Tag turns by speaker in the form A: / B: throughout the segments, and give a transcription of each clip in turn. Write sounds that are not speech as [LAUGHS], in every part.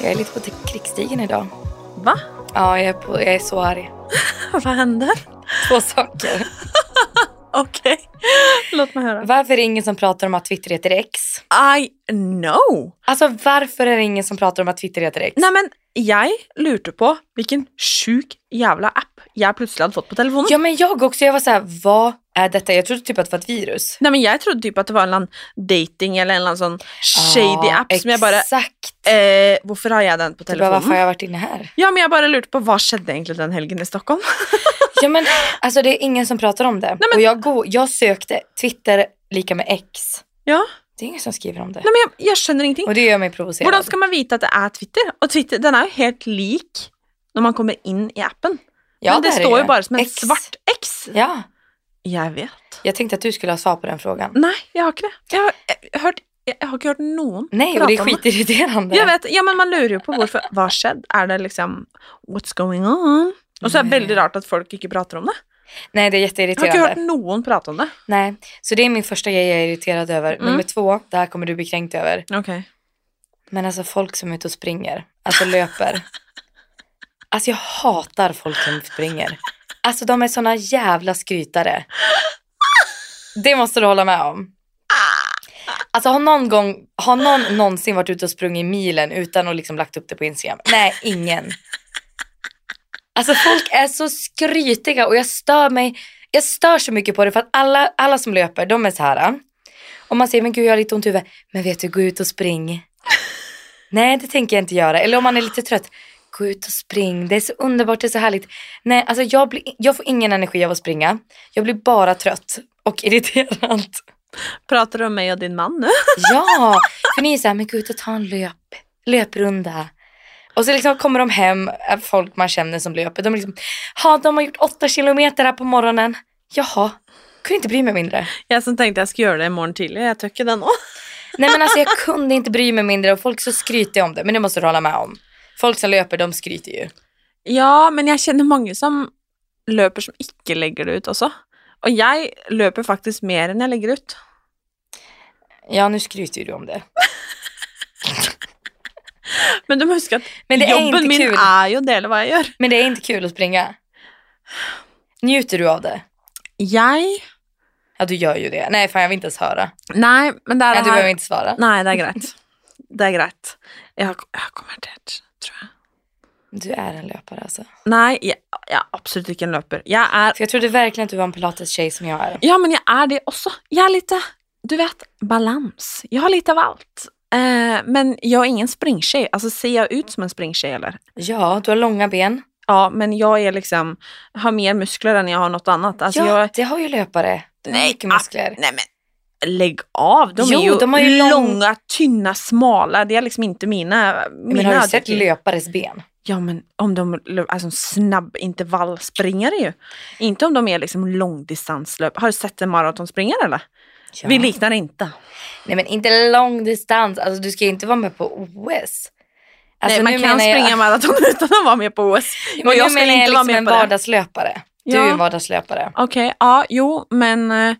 A: Jag är lite på t- krigsstigen idag.
B: Va?
A: Ja, jag är, på, jag är så arg. [LAUGHS]
B: Vad händer?
A: Två saker.
B: Okej, låt mig höra.
A: Varför är det ingen som pratar om att Twitter heter X?
B: I know!
A: Alltså varför är det ingen som pratar om att Twitter heter X?
B: Nei, men jeg lurte på hvilken sjuk jævla app jeg plutselig hadde fått på telefonen.
A: Ja men jag också, jag var så här, vad är detta? Jag trodde typ att det var ett virus.
B: Nei, men Jeg trodde typ at det var en eller annen dating eller en eller annen sånn shady
A: Ja,
B: app som jag bara
A: Exakt.
B: eh, Hvorfor har jag den på
A: Du bara, varför har
B: telefonen?
A: jag varit inne här?
B: Ja, men jag bara lurte på vad skjedde egentlig den helgen i Stockholm?
A: Ja men alltså det är ingen som pratar om det. Och jag, go- jag sökte Twitter lika med X.
B: Ja.
A: Det är ingen som skriver om det.
B: Nei, men jeg, jeg skjønner ingenting.
A: Och det gör mig provocerad.
B: Hvordan skal man vite at det er Twitter? Og Twitter den er jo helt lik når man kommer inn i appen.
A: ja,
B: men det,
A: här är
B: står jo bare som en
A: X.
B: svart X.
A: Ja,
B: Jeg vet.
A: jag tänkte att du skulle ha svar på den frågan.
B: Nei, jeg har ikke det. Jeg har, jeg, jeg har, jeg, jeg har ikke hørt noen
A: Nej, och
B: prate
A: det är
B: om det.
A: skitirriterande.
B: Jag vet, ja men man lurar ju på varför, vad skedd? Är det liksom, what's going on? Och så är det
A: Nej.
B: väldigt rart att folk inte pratar om det.
A: Nej, det är
B: Jag har inte
A: jätteirriterande.
B: hört någon prata om det.
A: Nej, så det är min första grej jag är irriterad över.
B: Mm.
A: Nummer två, det här kommer du bli kränkt över.
B: Okej.
A: Men alltså folk som är ute och springer, alltså löper. Alltså jag hatar folk som springer. Alltså de är såna jävla skrytare. Det måste du hålla med om. Alltså har någon gång, har någon någonsin varit ute och sprungit milen utan att liksom lagt upp det på Instagram? Nej, ingen. Alltså folk är så skrytiga och jag stör mig, jag stör så mycket på det för att alla, alla som löper, de är så här. Om man säger, men gud jag har lite ont i huvudet. Men vet du, gå ut och spring. Nej, det tänker jag inte göra. Eller om man är lite trött. Gå ut och spring. Det är så underbart, det är så härligt. Nej, alltså jag, blir, jag får ingen energi av att springa. Jag blir bara trött och [LAUGHS] irriterad.
B: Pratar du om mig och din man nu?
A: Ja, för ni är så här, men gå ut och ta en löp, löprunda. Och så liksom kommer de hem, eh, folk man känner som löper. De är liksom, ha de har gjort åtta kilometer här på morgonen. Jaha, kunde inte bry mig mindre.
B: Jag som tänkte jag skulle göra det imorgon tidigt, jag tycker inte det nu.
A: Nej men alltså jag kunde inte bry mig mindre och folk så skryter om det. Men det måste du hålla med om. Folk som löper, de skryter ju.
B: Ja, men jag känner många som löper som inte lägger det ut också. Och jag löper faktiskt mer än jag lägger ut.
A: Ja, nu skryter ju du om det.
B: Men du måste huska att
A: Men det är
B: jobben
A: inte
B: min
A: kul.
B: är ju att dela vad jag gör.
A: Men det är inte kul att springa. Njuter du av det?
B: Jag?
A: Ja, du gör ju det. Nej, fan jag vill inte ens höra.
B: Nej, men det är
A: Nej, du
B: det här.
A: behöver inte svara.
B: Nej, det är grejt. Det är grejt. Jag har, jag har konverterat, tror jag.
A: Du är en löpare alltså.
B: Nej, jag, jag är absolut inte en löper. Jag är,
A: För jag trodde verkligen att du var en pilates-tjej som jag är.
B: ja men jag är det också. Jag är lite, du vet, balans. Jag har lite av allt. Eh, men jag är ingen springtjej. Alltså ser jag ut som en springtjej eller?
A: Ja, du har långa ben.
B: Ja, men jag är liksom, har mer muskler än jag har något annat. Alltså,
A: ja,
B: jag,
A: det har ju löpare. Du har
B: Nej, ah,
A: mycket muskler.
B: nej men lägg av. De
A: Jo,
B: är ju,
A: de har ju lång-
B: långa, tynna, smala. Det är liksom inte mina. mina
A: Men har du sett
B: adjektiv.
A: löpares ben?
B: Ja, men om de lö- alltså snabb intervallspringare ju. Inte om de är liksom långdistanslöp. Har du sett en maratonspringare eller?
A: Ja.
B: Vi liknar inte.
A: Nej, men inte lång distans. Alltså, du ska ju inte vara med på OS. Alltså,
B: Nej, man
A: nu
B: kan
A: menar jag- [LAUGHS]
B: springa maraton [LAUGHS] utan att vara med på OS.
A: Men
B: och jag
A: nu
B: skulle
A: menar jag
B: inte vara
A: liksom
B: med
A: en
B: på det.
A: vardagslöpare. Du är
B: Ja.
A: en vardagslöpare.
B: Okej, ja, jo, men... eh,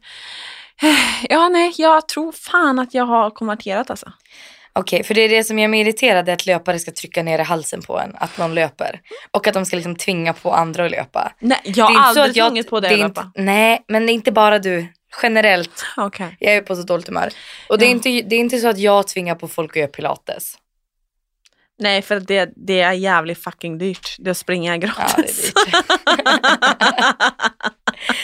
B: Ja, nej, jag tror fan att jag har konverterat alltså.
A: Okej, för det är det som gör mig irriterad, är att löpare ska trycka ner i halsen på en, att någon löper. Och att de ska liksom tvinga på andra att löpa.
B: Nej, jag
A: Det är
B: har
A: inte så
B: aldrig
A: att jag-
B: tvungit på det,
A: är
B: det
A: inte, Nej, men det är inte bara du. Generellt,
B: Okej.
A: jag är på så dåligt humör. Och det, är
B: Ja.
A: inte, det är inte så att jag tvingar på folk att göra pilates.
B: Nej, för det, det är jävligt fucking dyrt. Det är att springa
A: Ja,
B: [LAUGHS]
A: det är
B: gratis.
A: dyrt.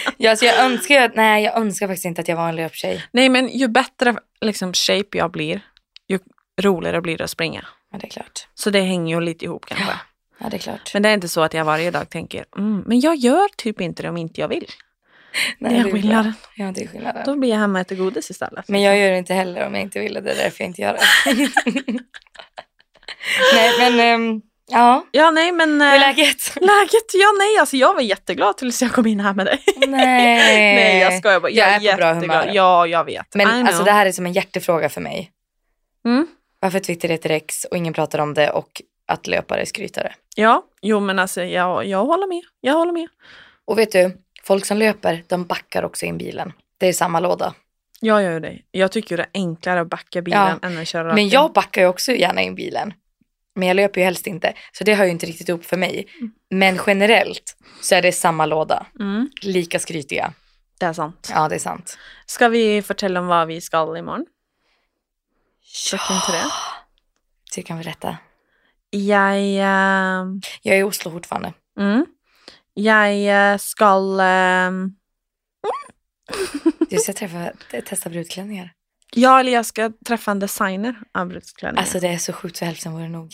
A: [LAUGHS] ja, så jag önskar ju att, nej jag önskar faktiskt inte att jag var en löptjej.
B: nej, men ju bättre liksom, shape jag blir, ju roligare blir det att springa.
A: Men det är klart.
B: Så det hänger ju lite ihop kanske.
A: Ja, det är klart.
B: Men det är inte så att jag varje dag tänker, mm, men jag gör typ inte det om inte jag vill.
A: Nej,
B: det är
A: bra.
B: skillnaden.
A: Ja, det är skillnaden.
B: Då blir jag hemma och äter godis istället.
A: Men jag gör det inte heller om jag inte vill och det är därför jag inte gör det. [LAUGHS] Nej men ehm, ja,
B: Ja, nej, men...
A: hur är
B: eh,
A: läget?
B: Läget? Ja, nej, alltså jag var jätteglad tills jag kom in här med dig.
A: Nej.
B: [LAUGHS] nej, jag skojar bara. Jag,
A: Eh, jag är
B: är,
A: på bra
B: jätteglad.
A: humör.
B: Ja, jag vet.
A: Men
B: I know.
A: alltså det här är som en hjärtefråga för mig.
B: Mm.
A: Varför Twitter heter X och ingen pratar om det och att löpare är skrytare.
B: Ja, jo men alltså jag, jag håller med. Jag håller med.
A: Och vet du, folk som löper de backar också in bilen. Det är samma låda.
B: Jag gör ju det. Jag tycker ju det är enklare att backa bilen än att köra rakt
A: Men
B: in.
A: jag backar ju också gärna in bilen. Men jag löper ju helst inte. Så det hör ju inte riktigt ihop för mig. Men generellt så är det samma låda.
B: Mm,
A: Lika skrytiga.
B: det är sant.
A: Ja, det är sant.
B: Ska vi fortälla om vad vi ska imorgon? Tycker inte det?
A: Det kan vi rätta.
B: Jag, eh,
A: Jag är i Oslo fortfarande.
B: mm, jag eh, ska... ehm,
A: Du ska träffa, testa
B: [LAUGHS]
A: brudklänningar.
B: ja, eller jag ska träffa en designer av brudklänningar.
A: Alltså det är så sjukt så hälften vore nog.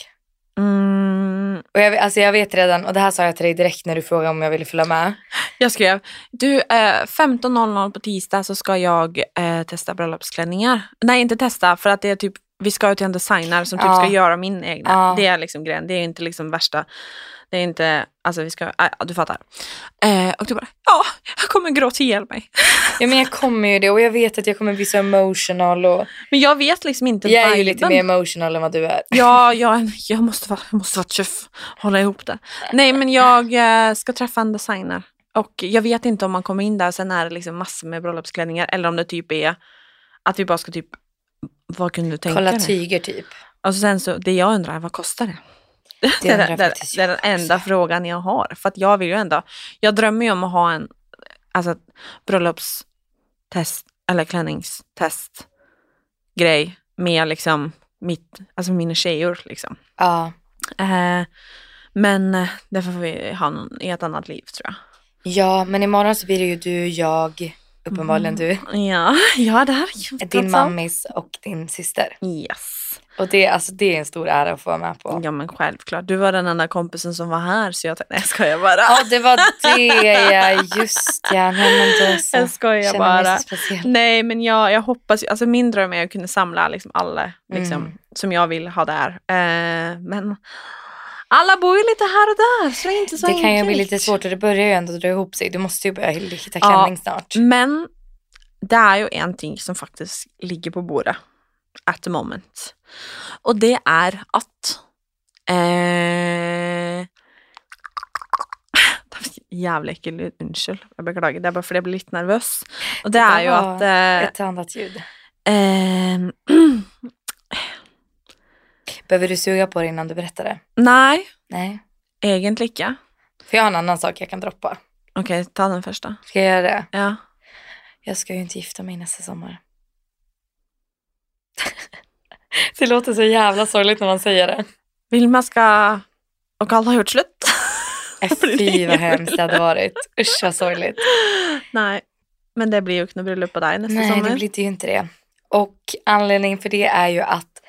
B: mm,
A: Och jag, alltså jag vet redan, och det här sa jag till dig direkt när du frågade om jag ville följa med.
B: jag skrev, du, eh, 15.00 på tisdag så ska jag eh, testa bröllopsklänningar. Nej, inte testa, för att det är typ, vi ska ut till en designer som typ
A: Ja.
B: ska göra min egna.
A: Ja.
B: Det är liksom grejen, det är inte liksom värsta, det är inte, alltså vi ska, ah, du fattar. Eh, och du bara, ja, jag kommer gråta ihjäl mig.
A: Ja men jag kommer ju det och jag vet att jag kommer bli så emotional och
B: Men jag vet liksom inte
A: jag är ju
B: viben.
A: lite mer emotional än vad du är.
B: Ja, jag, jag måste vara, jag måste vara tuff. Hålla ihop det. Nej, men jag eh, ska träffa en designer. Och jag vet inte om man kommer in där och sen är det liksom massor med bröllopsklänningar. Eller om det typ är att vi bara ska typ, vad kunde du tänka
A: Kolla
B: dig?
A: tyger typ.
B: Och så sen så, det jag undrar är, vad kostar det? [LAUGHS] Det är, Alltså.
A: undrar
B: den- det, är-
A: faktiskt
B: det är den
A: jag också.
B: enda frågan jag har. För att jag vill ju ändå, jag drömmer ju om att ha en alltså, ett bröllopstest eller klänningstest grej med liksom mitt, alltså mina tjejor liksom.
A: Ja.
B: Eh, men eh, därför får vi ha någon i ett annat liv tror jag.
A: ja men imorgon så blir det ju du, jag, uppenbarligen
B: Mm.
A: du,
B: Ja, [LAUGHS] jag är där.
A: din
B: trots allt.
A: mammis och din syster.
B: Yes.
A: Och det, alltså, det är en stor ära att få vara med på.
B: Ja men självklart. Du var den enda kompisen som var här så jag tänkte, nej jag skojar bara.
A: Ja det var det ja, just ja. Nej, men då så.
B: jag skojar
A: Känner mig
B: bara.
A: så speciell.
B: Nej men jag, jag hoppas, ju- alltså min dröm är att kunna samla liksom alla liksom,
A: Mm.
B: som jag vill ha där. Eh, men alla bor ju lite här och där så det är inte så
A: Det kan ju bli
B: enkelt.
A: lite svårt och det börjar ju ändå dra ihop sig. Du måste ju börja hitta
B: Ja.
A: klänning snart.
B: Men det är ju en ting som faktiskt ligger på bordet at the moment. Och det är att... Eh, [LAUGHS] det ser jävla äckligt ut, unnskyld. Jag beklagar, det är bara för att jag blir lite nervös. Och det
A: Det
B: är
A: där
B: ju
A: var
B: att... Eh,
A: Ett annat ljud.
B: ehm, [CLEARS THROAT]
A: Behöver du suga på det innan du berättar det?
B: nej,
A: Nej.
B: egentligen inte.
A: För jag har en annan sak jag kan droppa.
B: Okej, ta den första.
A: Ska jag göra det?
B: Ja.
A: Jag ska ju inte gifta mig nästa sommar. [LAUGHS] det låter så jävla sorgligt när man säger
B: [LAUGHS]
A: det.
B: Vilma ska... Och alla har gjort slut. [LAUGHS]
A: Äh,
B: blir
A: Fy vad
B: ingen
A: hemskt det hade varit. Usch vad sorgligt.
B: nej, men det blir ju inte bröllop på dig nästa
A: Nej
B: sommar.
A: det blir ju inte det. Och anledningen för det är ju att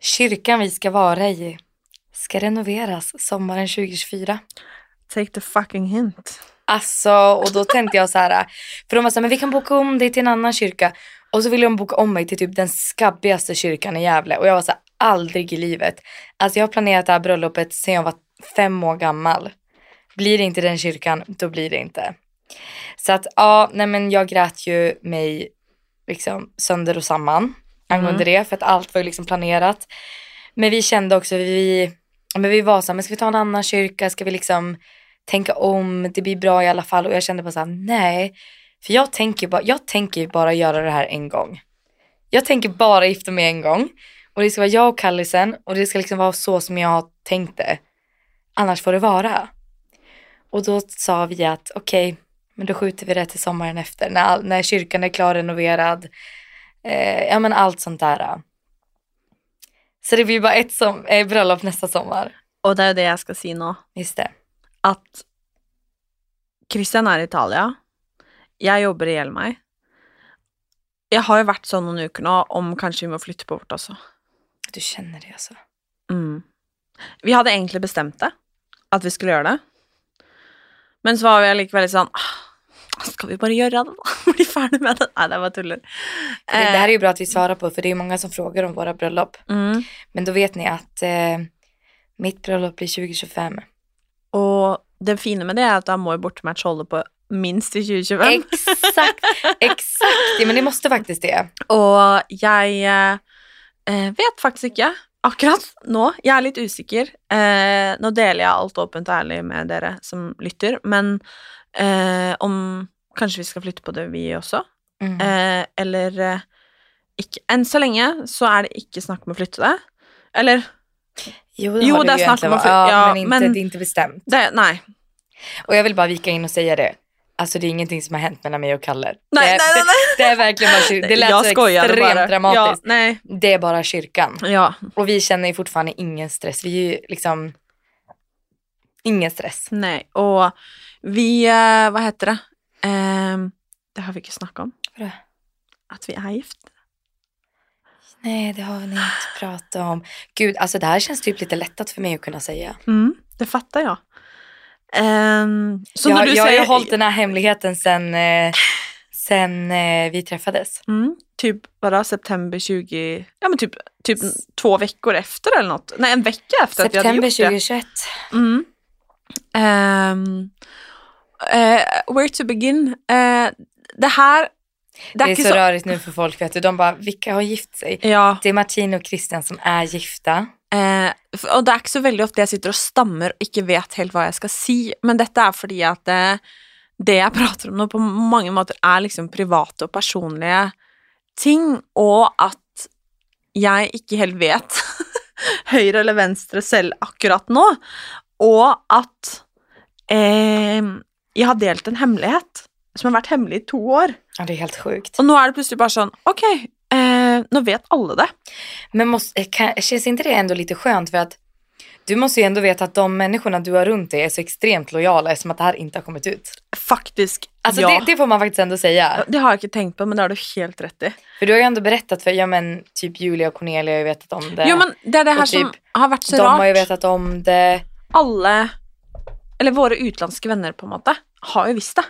A: kyrkan vi ska vara i ska renoveras sommaren 2024.
B: Take the fucking hint.
A: Alltså, och då tänkte jag så här, för de var så här, men vi kan boka om dig till en annan kyrka. Och så ville de boka om mig till typ den skabbigaste kyrkan i Gävle. Och jag var så här, aldrig i livet. Alltså jag har planerat det här bröllopet sedan jag var fem år gammal. Blir det inte den kyrkan, då blir det inte. Så att ja, nej men jag grät ju mig liksom sönder och samman angående det. För att allt var ju liksom planerat. Men vi kände också, vi, men vi var så här, men ska vi ta en annan kyrka? Ska vi liksom tänka om, det blir bra i alla fall. Och jag kände bara så här, nej. För jag tänker, bara, jag tänker bara göra det här en gång. Jag tänker bara gifta mig en gång. Och det ska vara jag och Kallisen och det ska liksom vara så som jag har tänkt det. Annars får det vara. Och då sa vi att okej, men då skjuter vi det till sommaren efter. När, all- när kyrkan är klarrenoverad. Eh, ja men allt sånt där. Så det blir bara ett som, eh, bröllop nästa sommar.
B: Och det är det jag ska säga nu.
A: Just det.
B: Att Christian är i Italien. Jag jobbar ihjäl mig. Jag har ju varit så någon uker nu om kanske vi måste flytta bort också.
A: Du känner det alltså.
B: Mm. Vi hade egentligen bestämt det, att vi skulle göra det. Men så var jag likväl sån, "Ah, ska vi bara göra det då? [LAUGHS] Bli färdig med det? Nej, det var tulligt.
A: För Det, det här är ju
B: Eh,
A: bra att vi svarar på för det är många som frågar om våra bröllop.
B: Mm.
A: Men då vet ni att eh, mitt bröllop blir 2025.
B: Och det fina med det är att jag må ju bortmatch hålla på minst i 2025. [LAUGHS]
A: Exakt, exakt. Ja, men det måste faktiskt det.
B: Och jag eh, vet faktiskt inte akkurat nu. Jag är lite osäker. Eh, nu delar jag allt öppet och ärligt med dere som lyssnar, men eh, om kanske vi ska flytta på det vi också.
A: Mm.
B: Eh, eller eh, ikke. Än så länge så är det inte snack om att flytta det. Eller
A: Jo, det
B: Jo,
A: har det
B: där
A: ju egentligen varit.
B: 0,4.
A: Ja,
B: Ja,
A: men, inte,
B: men-
A: det är inte bestämt.
B: Det, nej.
A: Och jag vill bara vika in och säga det. Alltså det är ingenting som har hänt mellan mig och Kalle. det,
B: nej, nej, nej.
A: Det, det är verkligen bara kyr- Det lät
B: jag
A: så
B: skojade
A: extremt
B: bara.
A: dramatiskt.
B: Ja, Mm. nej.
A: Det är bara kyrkan.
B: Ja.
A: Och vi känner ju fortfarande ingen stress. Vi är ju liksom... Ingen stress.
B: Nej, och vi, eh, vad heter det? Ehm, det har vi ju snackat om.
A: Vadå?
B: Att vi är gift.
A: Nej, det har ni inte
B: [SIGHS]
A: pratat om. Gud, alltså det här känns typ lite lättat för mig att kunna säga.
B: Mm, det fattar jag. Ehm, så
A: jag
B: när du
A: jag har
B: säger...
A: ju hållit den här hemligheten sen, eh, sen eh, vi träffades.
B: Mm, typ, vadå, september 20... Ja men typ, typ två veckor efter eller något. Nej, en vecka efter att vi hade
A: September
B: gjort det.
A: 2021.
B: Mm. Ehm, eh, where to begin? Eh, det här...
A: Det
B: här
A: är så rörigt nu för folk, vet du. De bara, vilka har gift sig?
B: Ja.
A: Det är Martin och Christian som är gifta.
B: Eh, f- og det er ikke så veldig ofte jeg sitter og stammer og ikke vet helt hva jeg skal si, men dette er fordi at eh, det jeg [LAUGHS] prater om nå på mange måter er liksom private og personlige ting, og at jeg ikke helt vet [LAUGHS] høyre eller venstre selv akkurat nå, og at eh, jeg har delt en hemmelighet som har vært hemmelig i to år,
A: Ja, det är helt sjukt.
B: og nå er det plutselig bare sånn, ok, eh, nå vet alle det.
A: Men måste, eh, kan, känns inte det ändå lite skönt för att du måste ju ändå veta att de människorna du har runt dig är så extremt lojala eftersom att det här inte har kommit ut.
B: Faktisk,
A: Alltså det, det får man faktiskt ändå säga.
B: Det har jeg ikke tenkt på, men det har du helt rett i.
A: För du har ju ändå berättat för, ja men typ Julia och Cornelia har ju vetat om det.
B: Jo, men Det er det
A: Og
B: her som
A: typ,
B: har vært så
A: de har ju
B: rart.
A: vetat om det.
B: Alle, eller våre utenlandske venner, på en måte, har jo visst det.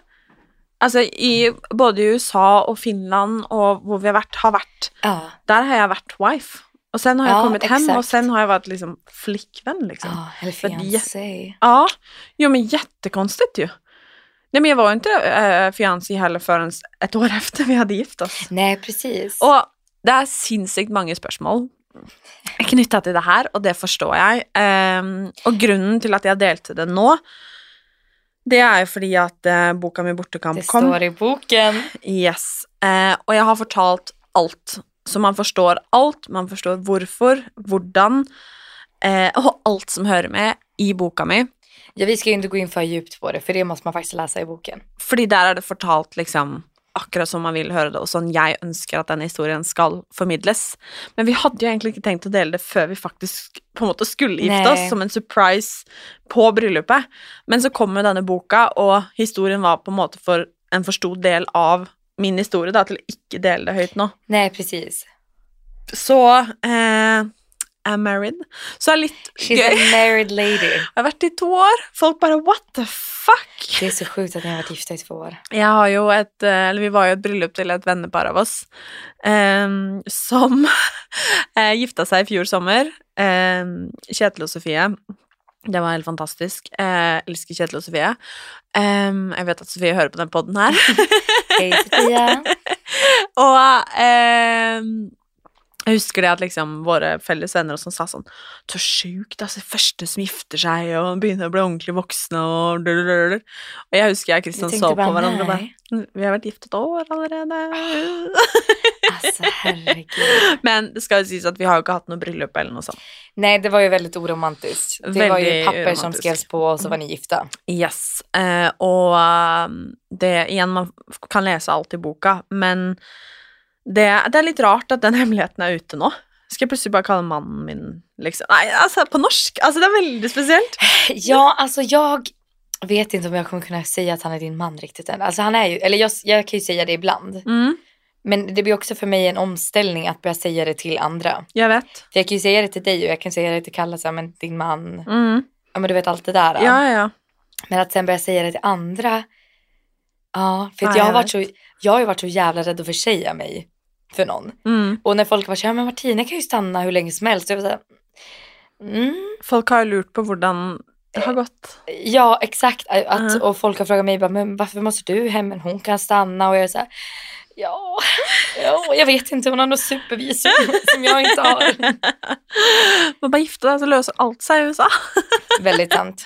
B: Altså, i både i USA og Finland og hvor vi har vært, har vært
A: Ja,
B: Der har jeg vært wife. Og sen har jeg
A: Ja,
B: kommet hjem,
A: exakt.
B: og sen har jeg vært liksom flikkvenn, liksom.
A: ja eller
B: För att
A: fiancé.
B: Ja, jo men jättekonstigt ju. Nej men jag var inte äh, fiancé heller förrän ett år [LAUGHS] efter vi hade gift oss.
A: Nej precis.
B: Og det er sinnssykt mange spørsmål knytta til det her, og det forstår jeg. Ehm, og grunnen til at jeg delte det nå, det er jo fordi at eh, boka mi 'Bortekamp'
A: det
B: kom.
A: står i boken.
B: Yes. Eh, og jeg har fortalt alt. Så man forstår alt, man forstår hvorfor, hvordan, eh, og alt som hører med i boka mi.
A: Ja, vi ska ju inte gå in för djupt på det för det måste man faktiskt läsa i boken.
B: Fordi der er det fortalt liksom akkurat som man vil høre det, og sånn jeg ønsker at den historien skal formidles. Men vi hadde jo egentlig ikke tenkt å dele det før vi faktisk på en måte skulle gifte
A: Nei.
B: oss, som en surprise på bryllupet. Men så kom jo denne boka, og historien var på en måte for en for stor del av min historie, da, til å ikke dele det høyt nå.
A: Nej precis.
B: Så eh, I'm married. Så er litt
A: She's
B: gøy.
A: a married lady.
B: Jeg har vært i to år. Folk bare what the fuck?
A: Det är så sjukt att ni har varit gifta i två år.
B: Jeg har jo et, eh, eller vi var jo et bryllup til et vennepar av oss em, som [LAUGHS] eh, gifta seg i fjor sommer. em, Kjetil og Sofie. Det var helt fantastisk. Eh, elsker Kjetil og Sofie. Em, jeg vet at Sofie hører på den podden her.
A: Hej Sofia.
B: Og em, jeg ehm, husker det at liksom våre felles venner og sånn sa sånn Så sjukt, altså. Første alltså som gifter seg og begynner å bli ordentlig voksne og blablabla." Og jeg husker jeg og
A: Jag
B: Kristian så
A: tänkte
B: på
A: bara,
B: hverandre og bare
A: nej.
B: vi har vært gift et år allerede.
A: Alltså herregud.
B: Men det skal jo sies at vi har jo ikke hatt noe bryllup eller noe sånt.
A: Nej, det var ju väldigt oromantiskt. Det var ju
B: Väldigt
A: papper som
B: romantiskt.
A: skrevs på och så var ni gifta.
B: Yes. Eh, og um, det igjen, man f- kan lese alt i boka, men det, det er litt rart at den [LAUGHS] hemmeligheten er ute nå. Skal jeg plutselig bare kalle mannen min liksom Nei, altså, på norsk! Altså, det er veldig spesielt.
A: Ja, alltså jag vet inte om jag kommer kunna säga att han är din man riktigt än. Alltså han är ju, eller jag, jag kan ju säga det ibland.
B: Mm,
A: Men det blir också för mig en omställning att börja säga det till andra.
B: jeg vet.
A: För jag kan ju säga det till dig och jag kan säga det till Kalle, så här, men din man,
B: Mm.
A: ja men du vet allt det där.
B: Ja, ja, ja.
A: Men att sen börja säga det till andra. Ja, för att
B: Ja,
A: jag, har
B: jag
A: varit så, jag har ju varit så jävla rädd att försäga mig för någon.
B: Mm.
A: Och när folk bara säger, ja men Martina kan ju stanna hur länge som helst. Så jag var så här, mm,
B: Folk har jo lurt på hvordan det har gått.
A: ja exakt. Att,
B: Mm.
A: Och folk har frågat mig, bara, men varför måste du hem? Men hon kan stanna. Och jag är så här, ja,
B: [LAUGHS]
A: ja jag vet inte, hon har något supervisum [LAUGHS] som jag inte har.
B: [LAUGHS] Man bare gifte deg, så løser alt seg i USA. [LAUGHS]
A: Väldigt sant.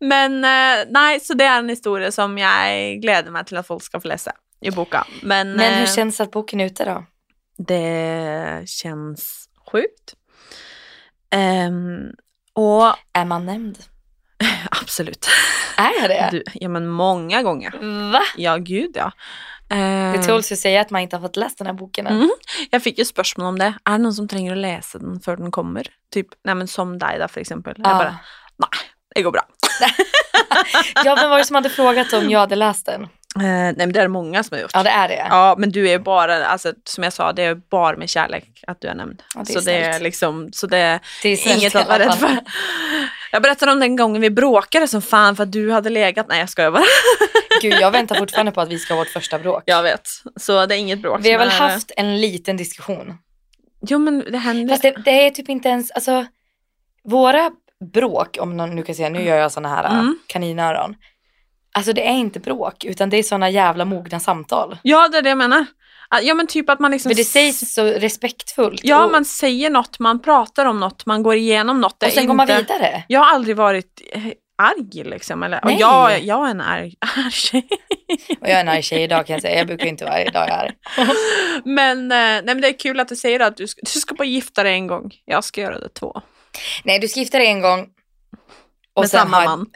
B: Men eh, nei, så det er en historie som jeg gleder meg til at folk skal få lese i boka. Men,
A: Men hur
B: eh,
A: känns det att boken är ute då?
B: det kjennes sjukt. Eh, Ehm, och [LAUGHS]
A: Är man nämnd?
B: absolut.
A: Är det?
B: Du, ja men många gånger.
A: Va?
B: Ja gud ja.
A: Det
B: Ehm,
A: tåls ju att säga att man inte har fått läst den här boken än.
B: Mm. Jag fick ju spørsmål om det. Er det noen som trenger å lese den før den kommer? Typ, nei, men Som deg, da, for eksempel. Jeg
A: Ja.
B: [LAUGHS] bare Nei, det går bra.
A: Ja, vem var det som hade frågat om jag hade läst den?
B: Eh, nei, men det er det mange som har gjort.
A: Ja, det är det.
B: Ja, men du är ju bara, alltså, som jag sa, det är bara med kärlek att du är nämnd.
A: Ja, det är
B: så det är
A: snällt.
B: liksom, så det är
A: det är snällt
B: inget
A: i
B: att vara
A: alla
B: rädd
A: fall.
B: för. Jag berättade om den gången vi bråkade som fan för att du hade legat. Nej, jag skojar bara.
A: Gud, jag väntar fortfarande på att vi ska ha vårt första bråk.
B: Jag vet. Så det är inget bråk.
A: Vi har väl
B: men-
A: haft en liten diskussion.
B: Jo, men det händer.
A: Fast det, det är typ inte ens, alltså våra bråk, om någon nu kan säga, nu gör jag såna här äh,
B: Mm.
A: kaninöron. Alltså det är inte bråk, utan det är såna jävla mogna samtal.
B: Ja, det är det jag menar. Ja, men typ att man liksom...
A: För det sägs så respektfullt.
B: Ja,
A: och,
B: man säger något, man pratar om något, man går igenom något. Det
A: och
B: är
A: sen går man
B: inte-
A: vidare.
B: Jag har aldrig varit eh, arg liksom. Eller, och
A: Nej.
B: jag, jag är en arg, [LAUGHS] arg tjej.
A: Och jag är en arg tjej idag kan jag säga, jag brukar ju inte vara arg idag jag är arg.
B: Men, eh, nej, men det är kul att du säger att du ska, du ska bara gifta dig en gång. Jag ska göra det två.
A: Nej, du ska gifta dig en gång. Och,
B: Med
A: sen,
B: samma
A: ha,
B: man.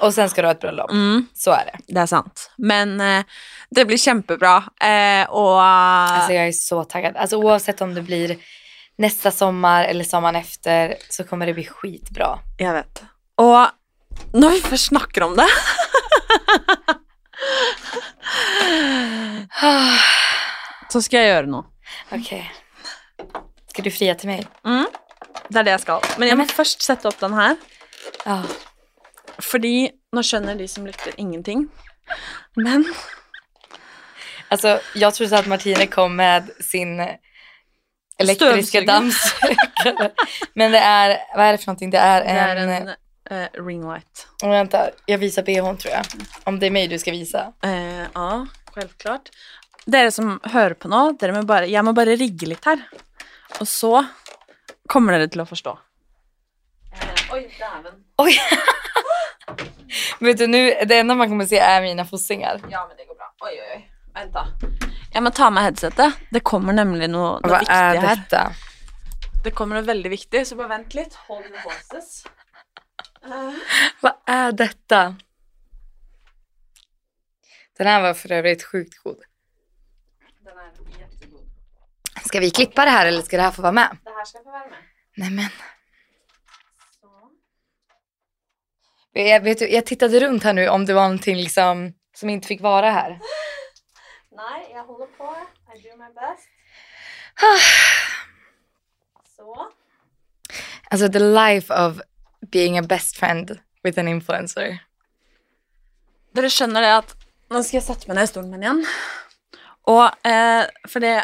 A: och sen ska du ha ett bröllop.
B: Mm,
A: Så är det.
B: det är sant. Men eh, det blir kämpebra. Eh, och,
A: Alltså jag är så taggad. Alltså oavsett om det blir nästa sommar eller sommaren efter så kommer det bli skitbra.
B: jag vet. Och nu har vi för snackar om det. Så ska jag göra det nu.
A: Okej. Ska du fria till mig?
B: Mm. Det er det jeg skal. Men jeg må først sette opp den her,
A: Ja.
B: fordi nå skjønner de som lytter, ingenting. Men
A: Alltså jag trodde så att Martine kom med sin elektriska
B: Stövsugare.
A: dammsugare. Men det är, vad är det för någonting? Det är
B: det
A: en...
B: er en eh, ring light.
A: oh, vänta, jag visar bhn tror jag. Om det är mig du ska visa.
B: Eh, ja, självklart. Dere som hører på nå, dere må bare, jeg må bare rigge litt her. Og så kommer dere til å forstå. Eh, oi, dæven.
A: Oj! Vet du, nu, det enda man kommer se är mina fossingar.
B: Ja, men det går bra. Oi, oi, oi. Vent, da. Jeg må ta med headsetet. Det kommer nemlig noe, noe viktig her.
A: detta?
B: Det kommer noe veldig viktig, så bare vent litt. Hold your horses. Eh.
A: Vad är detta? Den här var för övrigt sjukt god.
B: Den är jättegod.
A: Ska vi klippa det här eller ska det här få vara med?
B: Det här ska få vara med.
A: Nej men.
B: Så.
A: Jag, vet du, jag tittade runt här nu om det var någonting liksom som inte fick vara här.
B: Nej, jag håller på. I do my best. Så.
A: Alltså the life of being a best friend with an influencer.
B: Dere skjønner det at Nå skal jeg sette meg ned i stolen min igjen. Og eh, for det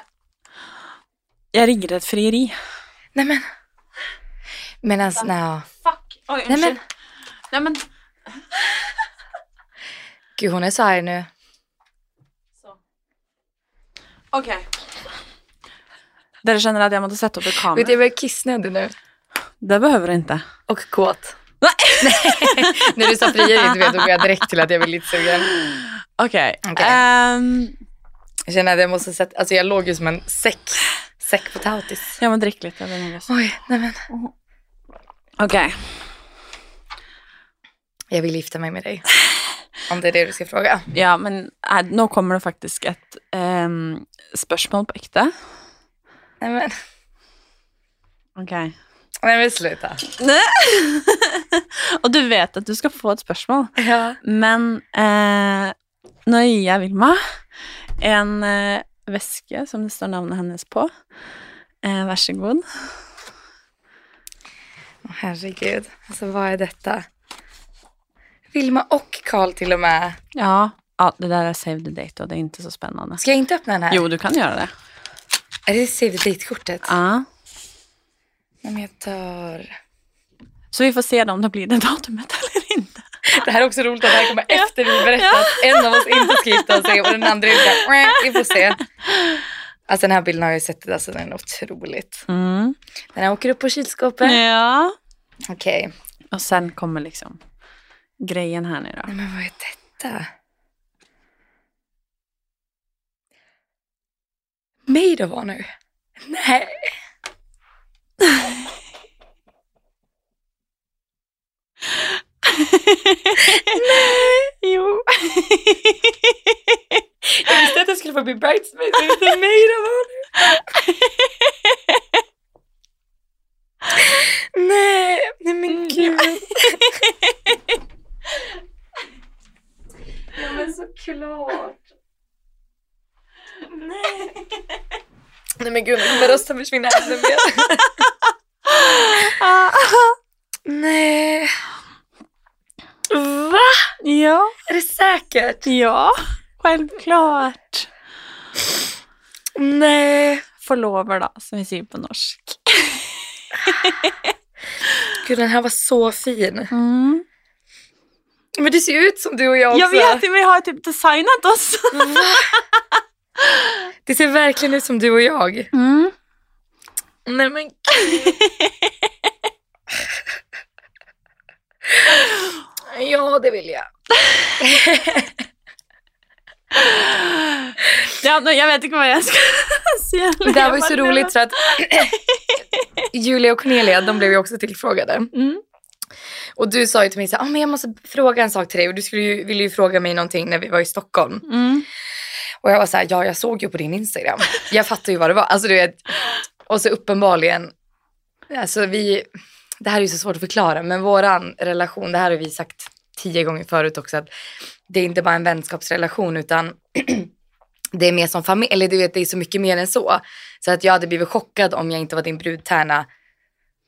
B: Jeg rigger et frieri.
A: Nej men. Men alltså, no.
B: Fuck. Oi,
A: Nei, men-
B: unnskyld. Nei, men
A: Gud hon är så arg nu.
B: Så. OK. Dere skjønner at jeg måtte sette opp et
A: Vet du,
B: kamera?
A: jag börjar kissnödig nu.
B: Det behøver du ikke.
A: Och kåt.
B: Nej.
A: [LAUGHS] När du sa frieri du vet, då går jag direkt till att jag blir lite sugen.
B: OK.
A: Ok.
B: ehm,
A: Jag känner att jag måste sätta, alltså jag låg ju som en säck, säck potatis.
B: jeg må drikke litt. Jeg blir nervøs.
A: Oj, nej men.
B: OK.
A: Jag vill gifta mig med dig. Om det är det du ska fråga.
B: Ja, men eh, nå kommer det faktisk et ehm, spørsmål på ekte.
A: Nej men,
B: Ok.
A: nej men sluta.
B: Og du vet at du skal få et spørsmål,
A: Ja.
B: men eh, nå gir jeg Vilma en eh, veske som det står navnet hennes på. Eh, vær så god.
A: Åh, herregud, alltså vad är detta? Vilma och Karl till och med.
B: Ja, ja det der er save the date, og det er ikke så spennende.
A: Ska jag inte öppna den här?
B: Jo, du kan gjøre det.
A: Är det save the date-kortet?
B: Ja.
A: Nej men jag dör.
B: Så vi får se da om det blir det datumet eller ikke.
A: Det här är också roligt att det här kommer efter vi berättat att en av oss inte ska gifta sig och den andra är så här, "Mäh, vi får se. Alltså den här bilden har jag ju sett, alltså den är otroligt.
B: Mm.
A: Den här åker upp på kylskåpet.
B: Ja.
A: Okej.
B: Og sen kommer liksom greien her nede.
A: Nej, men vad är detta? Maid of honor? Nej. Jag visste att jag skulle få bli bridesmaid, men inte maid av honom. Nej, nej men gud. ja men såklart. Nej. Nej men gud, nu kommer rösten försvinna ännu mer.
B: [LAUGHS] Ah,
A: Nej. Va?
B: ja.
A: Är det säkert?
B: Ja, självklart.
A: Nej.
B: Förlover då, som vi säger på norsk.
A: Gud, den här var så fin. Men det ser ju ut som du och jag Mm. också.
B: Jag vet, vi har typ designat oss.
A: Va? Det ser verkligen ut som du och jag. Nej men gud. Ja, det vill jag.
B: Ja, men jag vet inte vad jag ska [LAUGHS] säga.
A: Det här var ju så roligt för att [CLEARS THROAT] Julia och Cornelia, de blev ju också tillfrågade.
B: Mm.
A: Och du sa ju till mig så här, ah, men jag måste fråga en sak till dig. Och du skulle ju, ville ju fråga mig någonting när vi var i Stockholm.
B: Mm.
A: Och jag var så här, ja jag såg ju på din Instagram. Jag fattar ju vad det var. Alltså du vet, och så uppenbarligen, alltså vi, det här är ju så svårt att förklara, men våran relation, det här har vi sagt tio gånger förut också, att det är inte bara en vänskapsrelation utan [CLEARS THROAT] det är mer som familj, eller du vet det är så mycket mer än så. Så att jag hade blivit chockad om jag inte var din brudtärna.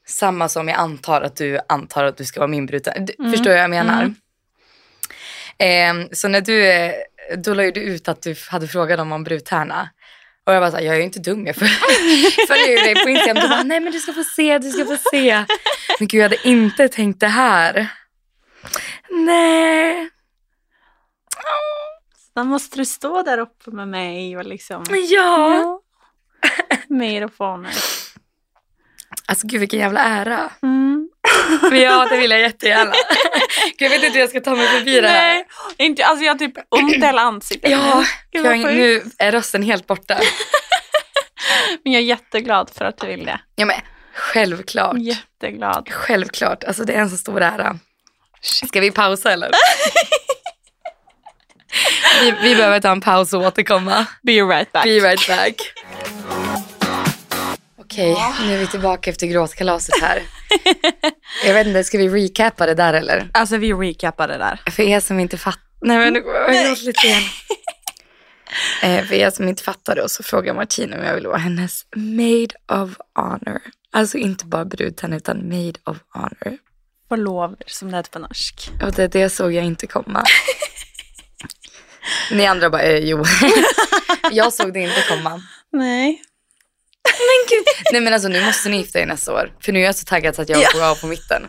A: Samma som jag antar att du antar att du ska vara min brudtärna. Du-
B: Mm.
A: Förstår jag vad jag menar? Ehm, så när du, eh, då la ju du ut att du f- hade frågat dem om brudtärna. Och jag bara såhär, jag är ju inte dum, jag föl- följer ju [LAUGHS] dig på Instagram. Du bara, nej men du ska få se, du ska få se. Men gud, jag hade inte tänkt det här. Nej,
B: Då måste du stå där uppe med mig och liksom...
A: ja.
B: Mer och fåner.
A: Alltså gud vilken jävla ära.
B: Mm.
A: Men [LAUGHS] ja, det vill jag jättegärna. [LAUGHS] Gud, jag vet inte hur jag ska ta mig förbi det här.
B: Nej, inte, alltså jag har typ ont i hela ansiktet.
A: Ja,
B: Gud, vad
A: jag,
B: sjukt.
A: nu är rösten helt borta.
B: [LAUGHS] Men jag är jätteglad för att du vill det.
A: Ja, men självklart.
B: Jätteglad.
A: Självklart, alltså det är en så stor ära.
B: Shit.
A: Ska vi pausa eller? vi, vi behöver ta en paus och återkomma.
B: Be right back.
A: Be right back. Okej, nu är vi tillbaka efter gråtkalaset här. Jag vet inte, ska vi recappa det där eller?
B: Alltså vi recappar det där.
A: För er som inte fattar... Nej men nu går jag åt lite igen. Eh, För er som inte fattar då så frågar Martina om jag vill vara hennes maid of honor. Alltså inte bara brudtärna utan maid of honor.
B: Förlover som det heter på norsk.
A: Och det, det såg jag inte komma. Ni andra bara, eh, jo. [LAUGHS] jag såg det inte komma.
B: Nej.
A: Nej men alltså nu måste ni gifta er nästa år. För nu är jag så taggad så att jag går av på mitten.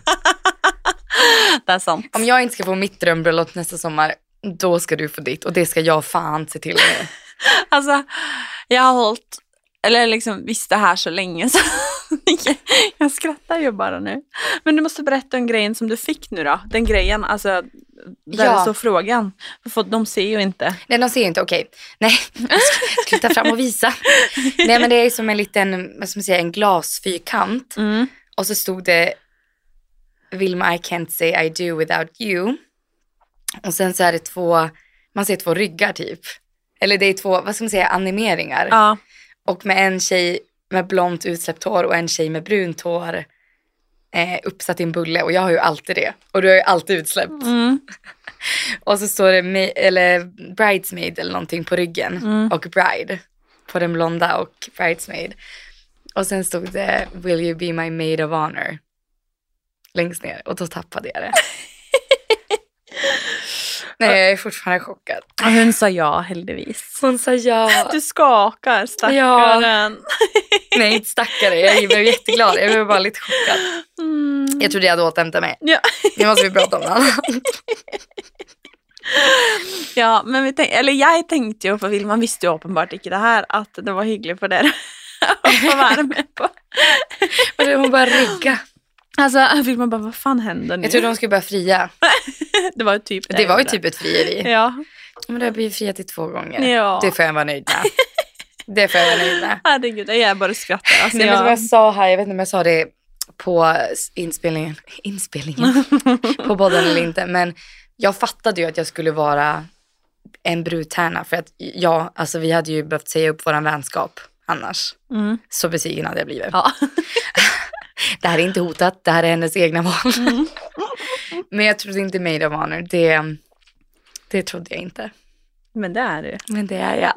B: [LAUGHS] Det är sant.
A: Om jag inte ska få mitt drömbröllop nästa sommar, då ska du få ditt. Och det ska jag fan se till nu.
B: Alltså, jag har hållit, eller liksom visst det här så länge så [LAUGHS] jag skrattar ju bara nu. Men du måste berätta om grejen som du fick nu då. Den grejen, alltså där
A: Ja.
B: det står frågan. För de ser ju inte.
A: Nej, de ser ju inte. Okej. Nej, jag ska- ska ta fram och visa. Nej, men det är som en liten, vad ska man säga, en glasfyrkant.
B: Mm.
A: Och så stod det Vilma, I can't say I do without you. Och sen så är det två, man ser två ryggar typ. Eller det är två, vad ska man säga, animeringar.
B: Ja.
A: Och med en tjej med blont utsläppt hår och en tjej med brunt hår eh, uppsatt i en bulle. Och jag har ju alltid det. Och du har ju alltid utsläppt.
B: [LAUGHS] Mm.
A: Och så står det ma- eller bridesmaid eller någonting på ryggen
B: Mm.
A: och bride på den blonda och bridesmaid. Och sen stod det will you be my maid of honor längst ner och då tappade jag det. Nej, jag är fortfarande chockad.
B: Och hon sa ja heldigvis.
A: Hon sa ja.
B: Du skakar stackaren.
A: Nej, inte stackare. Jag blev jätteglad. Jag blev bara lite chockad.
B: Mm.
A: Jag trodde jag hade återhämtat mig.
B: Ja.
A: Nu måste vi prata om något annat.
B: [LAUGHS] Ja, men vi tänk, eller jag tänkte ju, för Vilman visste ju uppenbart inte det här, att det var hyggligt för er [LAUGHS] att få vara med på.
A: Och då Hon bara rygga.
B: Alltså Vilman bara, vad fan händer nu?
A: Jag trodde hon skulle börja fria.
B: [LAUGHS] Det var ju typ
A: Det var ju
B: där.
A: typ ett frieri.
B: Ja.
A: Men det har blivit fria till två gånger.
B: Ja.
A: Det får jag vara nöjd med. Det får jag vara nöjd med.
B: Herregud, jag bara skrattar. Alltså,
A: Nej, men som
B: jag...
A: jag sa här, jag vet inte om jag sa det på s- inspelningen, [LAUGHS] inspelningen på podden eller inte, men jag fattade ju att jag skulle vara en brudtärna. För att ja, alltså vi hade ju behövt säga upp våran vänskap annars.
B: Mm.
A: Så besviken hade jag blivit.
B: Ja. [LAUGHS]
A: Det här är inte hotat, det här är hennes egna val. [LAUGHS] Men jag trodde inte Maid of Honor. Det, det trodde jag inte.
B: Men det är det
A: Men det är jag.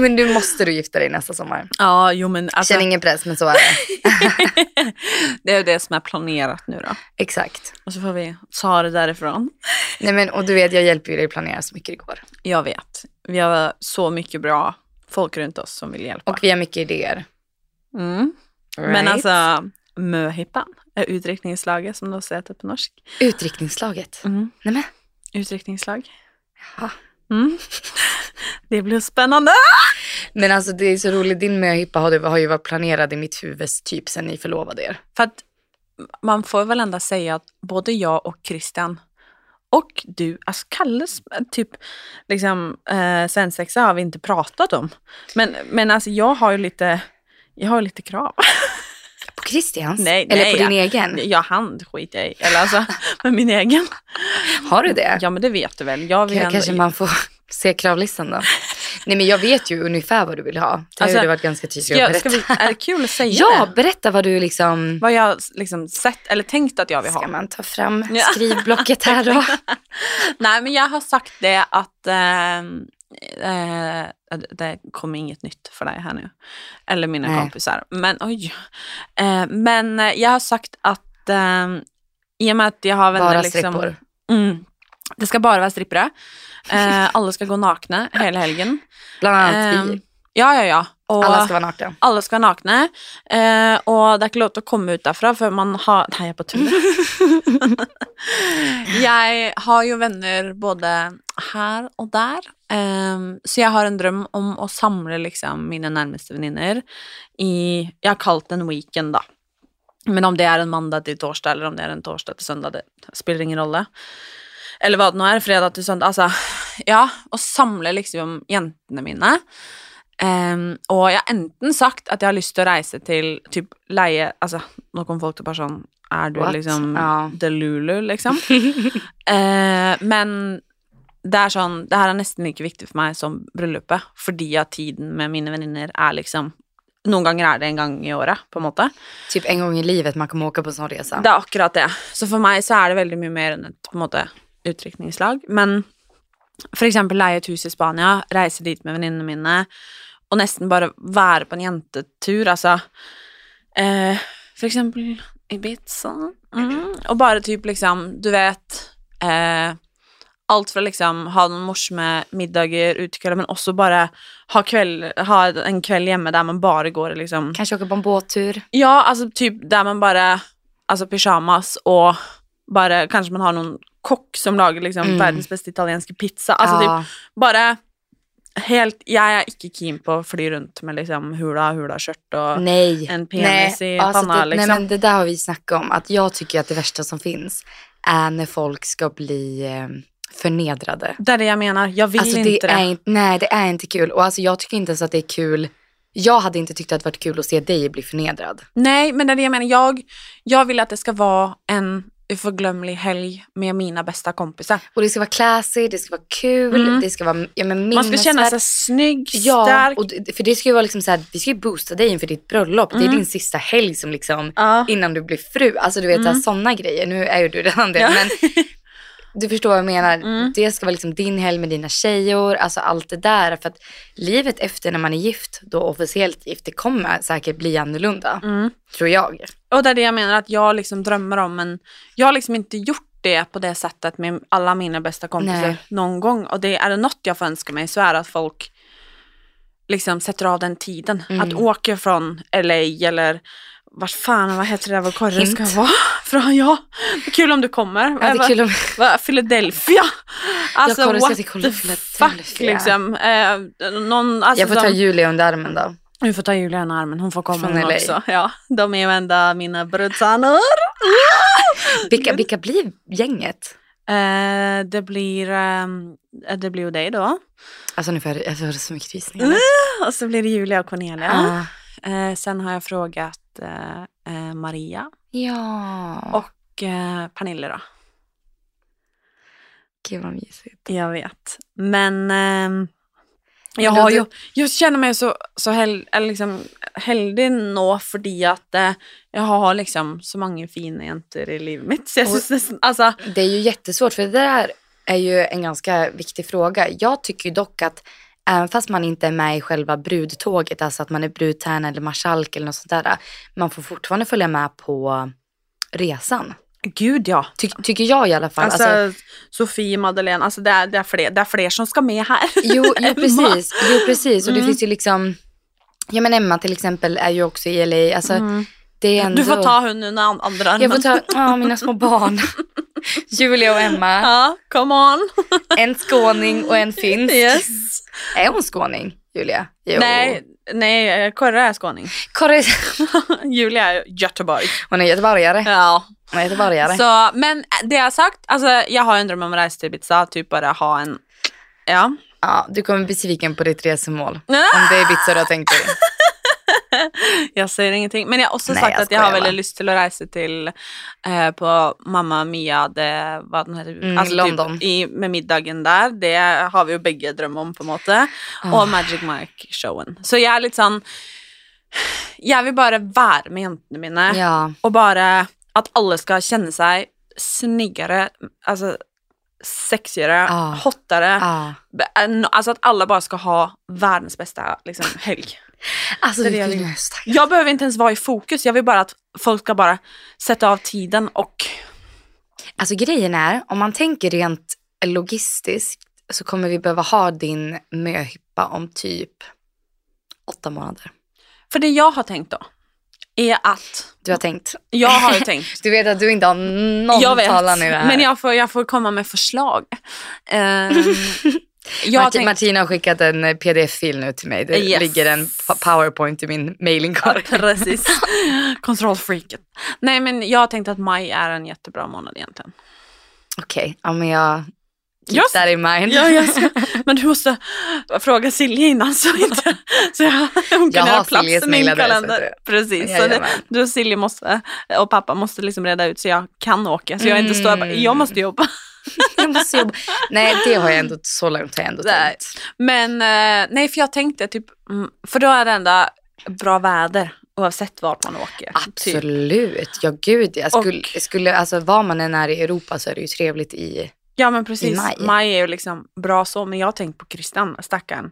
A: Men nu måste du gifta dig nästa sommar.
B: Ja, jo men alltså,
A: Känn ingen press, men så är det.
B: [LAUGHS] det är ju det som är planerat nu då.
A: Exakt.
B: Och så får vi ta det därifrån.
A: Nej, men, och du vet, jag hjälper ju dig planera så mycket det går.
B: Jag vet. Vi har så mycket bra folk runt oss som vill hjälpa.
A: Och vi har mycket idéer.
B: Mm. Men
A: Right?
B: alltså, möhippan är utryckningslaget som de säger typ på norsk.
A: Utryckningslaget.
B: Mm.
A: Nämen.
B: Utryckningslag.
A: Ja.
B: Mm. [LAUGHS] Det blir spännande.
A: Men alltså det är så roligt, din möhippa har, du- har ju varit planerad i mitt huvud typ sen ni förlovade er.
B: För att man får väl ändå säga att både jag och Christian och du, alltså Kalles typ liksom eh, svensexa har vi inte pratat om. Men, men alltså jag har ju lite, jag har lite krav. [LAUGHS]
A: På Christians?
B: Nej,
A: Eller
B: nej,
A: på din egen?
B: Jag hand skiter jag i, eller
A: [LAUGHS]
B: alltså med min egen.
A: Har du det?
B: Ja men det vet du väl. Jag vill
A: K-
B: ändå,
A: kanske man får [LAUGHS] se kravlistan då. Nej men jag vet ju ungefär vad du vill ha. Det har
B: Alltså,
A: ju du varit ganska tydlig
B: ska, jag-
A: med.
B: ska vi, är det kul att säga
A: Ja,
B: det?
A: berätta vad du liksom...
B: Vad jag liksom sett eller tänkt att jag vill
A: Ska
B: ha.
A: man ta fram
B: Ja.
A: skrivblocket här
B: [LAUGHS]
A: då?
B: Nej, men jag har sagt det att eh, eh, det kommer inget nytt för dig här nu. Eller mina
A: Nej.
B: kompisar. Men oj. Eh, men eh, jag har sagt att eh, i och med att jag har vänner
A: Bara
B: liksom,
A: strippor.
B: Mm, det ska bara vara strippare. Eh, alla ska gå nakna hela
A: [LAUGHS]
B: helgen.
A: Bland annat
B: Ehm,
A: vi.
B: ja, ja, ja. Och,
A: typ. Alla ska vara nakna.
B: alla ska være nakne. Eh, og det er ikke lov til å komme ut derfra før man har Nei, jeg er på tull. jeg har jo venner både her og der. ehm, så jeg har en drøm om å samle liksom mine nærmeste venninner i Jeg har kalt det en weekend, da. Men om det er en mandag til torsdag, eller om det er en torsdag til søndag, det spiller ingen rolle. Eller hva det nå er, fredag til søndag, altså Ja, å samle liksom jentene mine. Ehm, og jeg har enten sagt at jeg har lyst til å reise til typ leie Altså, nå kommer folk til å bare sånn Er du
A: What?
B: liksom
A: Ja.
B: Delulu, liksom? [LAUGHS] Eh, men det er sånn Det her er nesten like viktig for meg som bryllupet, fordi at tiden med mine venninner er liksom Noen ganger er det en gang i året, på en måte.
A: Typ en gång i livet man kommer åka på en sån resa.
B: Det er akkurat det. Så for meg så er det veldig mye mer enn et på en måte, utdrikningslag. Men for eksempel leie et hus i Spania, reise dit med venninnene mine, og nesten bare være på en jentetur, altså. Eh, for eksempel Ibiza. Mm. Og bare typ liksom, du vet eh, Alt fra liksom ha noen morsomme middager utekvelder, men også bare ha, kveld, ha en kveld hjemme der man bare går i liksom
A: Kanske åka på en båttur.
B: Ja, alltså typ där man bara, alltså pyjamas och bara kanske man har någon kock som lagar liksom
A: Mm.
B: världens bästa italienska pizza. Alltså typ
A: ja.
B: bara helt, jag är inte keen på att fly runt med liksom hula, hula skört och
A: Nej.
B: en penis i panna,
A: det,
B: liksom.
A: nej men det där har vi snackat om. Att jag tycker att det värsta som finns är när folk ska bli eh, förnedrade.
B: Det är det jag menar, jag vill
A: Alltså, det
B: inte det.
A: Är inte, nej, det är inte kul. Och alltså, jag tycker inte ens att det är kul. Jag hade inte tyckt att det varit kul att se dig bli förnedrad.
B: Nej, men det är det jag menar, jag, jag vill att det ska vara en oförglömlig helg med mina bästa kompisar.
A: Och det ska vara classy, det ska vara kul,
B: Mm.
A: det ska vara ja, men
B: Man ska känna
A: minnesvärt.
B: sig snygg,
A: Ja,
B: stark.
A: och det, för det ska ju vara liksom så här, vi ska ju boosta dig inför ditt bröllop. Det
B: Mm.
A: är din sista helg som liksom,
B: Ja.
A: innan du blir fru. Alltså du vet
B: Mm.
A: mm. sådana grejer. Nu är ju du redan det.
B: Ja. [LAUGHS]
A: Men du förstår vad jag menar.
B: Mm.
A: Det ska vara liksom din helg med dina tjejor. Alltså allt det där. För att livet efter när man är gift, då officiellt gift, det kommer säkert bli annorlunda.
B: Mm.
A: Tror jag.
B: Och det är det jag menar att jag liksom drömmer om, men jag har liksom inte gjort det på det sättet med alla mina bästa kompisar
A: Nej.
B: någon gång. Och det är det något jag får önska mig så är det att folk liksom sätter av den tiden.
A: Mm.
B: Att åka från LA eller vart fan, vad heter det där vår korre ska
A: Hint.
B: vara? [LAUGHS] Från, ja, kul om du kommer.
A: Ja, det är kul om...
B: Va, Philadelphia? Alltså
A: kommer att säga
B: what
A: till
B: the
A: Philadelphia.
B: fuck liksom. Eh, någon, alltså,
A: Jag får ta
B: de-
A: Julia under armen då.
B: du får ta Julia i armen, hon får komma
A: Från
B: hon
A: LA.
B: också. Ja, de är ju enda mina brudsanor.
A: Vilka,
B: Mm.
A: vilka blir gänget?
B: Eh, det blir ehm, eh, det blir ju dig då.
A: Alltså nu får jag, jag får så mycket visningar.
B: Mm.
A: nu.
B: Och så blir det Julia och Cornelia.
A: Ja.
B: Eh, sen har jag frågat eh, eh, Maria
A: Ja.
B: och eh, Pernille då.
A: Gud vad mysigt.
B: Jag vet. Men ehm, jag,
A: Men då
B: har
A: du-
B: ju, jag känner mig så, så hel, eller liksom, heldig nå fordi at eh, jeg har liksom så mange fine jenter i livet mitt. Så jeg
A: Og-
B: synes nesten Altså
A: Det är ju jättesvårt för det där är ju en ganska viktig fråga. Jag tycker ju dock att även fast man inte är med i själva brudtåget, alltså att man är brudtärna eller marskalk eller något sånt där, man får fortfarande följa med på resan.
B: Gud, ja.
A: Ty tycker jag i alla fall.
B: Altså,
A: Alltså,
B: Sofie, Madeleine altså, det, er, det, er flere, det er flere som skal med her.
A: jo, jo,
B: [LAUGHS] Emma.
A: precis. Jo, precis. Och det
B: Mm.
A: finns ju liksom... Ja, men Emma till exempel är ju också i LA. Alltså, det är ändå...
B: Mm. Du får ta hun under an- andre armen.
A: Jag får ta... Ja, mina små barn. Julia och Emma.
B: [LAUGHS] Ja, come on. [LAUGHS]
A: En skåning och en finsk.
B: Yes.
A: Är hon skåning, Julia? Jo.
B: Nei, nei, Kåre er eh, skåning. [LAUGHS]
A: Korre...
B: Julie er Göteborg.
A: [LAUGHS] Hon är göteborgare.
B: Ja.
A: Hon är göteborgare.
B: Så, men eh, det jeg har sagt, altså, jeg har jo en drøm om å reise til Ibiza, typ bare ha en Ja.
A: Ja, du kommer bli besviken på ditt resemål. Om det är Ibiza du har tänkt
B: [LAUGHS]
A: dig.
B: Jeg sier ingenting. Men jeg har også
A: Nei,
B: sagt
A: jeg
B: at jeg har
A: skojar,
B: veldig
A: va.
B: lyst til å reise til eh, på Mamma Mia det, hva den heter,
A: Mm,
B: altså, typ
A: London.
B: I, med middagen der. Det har vi jo begge drøm om, på en måte.
A: Åh.
B: Og Magic Mike-showen. Så jeg er litt sånn Jeg vil bare være med jentene mine,
A: Ja.
B: og bare at alle skal kjenne seg snyggere, altså sexigere,
A: Ah.
B: hottere.
A: ja.
B: Be- en- Alltså att alla bara ska ha världens bästa liksom, helg.
A: Alltså,
B: Det
A: det
B: är det jag
A: är
B: vill.
A: ju
B: Jag behöver inte ens vara i fokus. Jag vill bara att folk ska bara sätta av tiden och...
A: Alltså grejen är, om man tänker rent logistiskt så kommer vi behöva ha din möhippa om typ åtta månader.
B: För det jag har tänkt då är att...
A: Du har tänkt.
B: Jag
A: [LAUGHS]
B: har ju tänkt.
A: Du vet att du inte har någon
B: jag vet,
A: talan nu här.
B: men jag får, jag får komma med förslag. Ehm,
A: [LAUGHS]
B: jag har
A: Marti-
B: tänkt
A: Martina har skickat en eh, pdf-fil nu till mig. Det
B: Yes.
A: ligger en pa- powerpoint i min mailingkorg.
B: Precis. [LAUGHS] Kontrollfreaket. Nej, men jag har tänkt att maj är en jättebra månad egentligen.
A: Okej, ja, men jag keep
B: Jag-
A: that in mind.
B: Ja,
A: [LAUGHS]
B: jag ska, men du måste fråga Silje innan så, inte, så jag, hon
A: Jag
B: kan
A: har
B: göra plats
A: Siljes
B: i min
A: mailadress,
B: kalender.
A: vet
B: Precis, så det,
A: Jajamän.
B: du och Silje måste, och pappa måste liksom reda ut så jag kan åka. Så jag inte står här bara,
A: Mm.
B: jag måste jobba.
A: jag måste jobba. Nej, det har jag ändå så långt har jag ändå
B: Nej. typ.
A: tänkt.
B: Men eh, nej, för jag tänkte typ, mm, för då är det enda bra väder oavsett vart man åker. Typ.
A: Absolut, ja gud. Jag
B: Och-
A: skulle, skulle, alltså, var man än är i Europa så är det ju trevligt i...
B: Ja men precis,
A: I maj.
B: maj. är ju liksom bra så, men jag har tänkt på Christian, stackaren.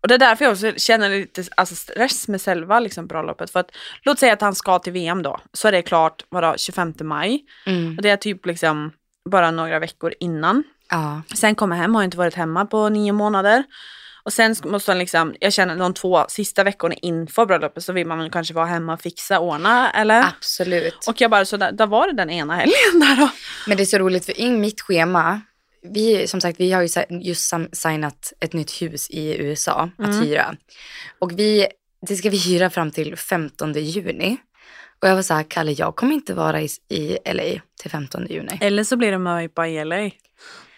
B: Och det är därför jag också känner lite alltså, stress med själva liksom, bröllopet. För att låt säga att han ska till VM då, så är det klart vadå, 25 maj.
A: Mm.
B: Och det är typ liksom bara några veckor innan.
A: Ja.
B: Sen kommer jag hem, har inte varit hemma på nio månader. Och sen sk- måste han liksom, jag känner de två sista veckorna inför bröllopet så vill man väl kanske vara hemma och fixa, ordna eller?
A: Absolut.
B: Och jag bara, så där, där var det den ena helgen [LAUGHS] där då.
A: Men det är så roligt för i mitt schema, vi, som sagt, vi har ju si- just sam- signat ett nytt hus i USA att
B: Mm.
A: hyra. Och vi, det ska vi hyra fram till 15 juni. Och jag var så här, Kalle jag kommer inte vara i, i LA till 15 juni.
B: Eller så blir det möhippa i LA.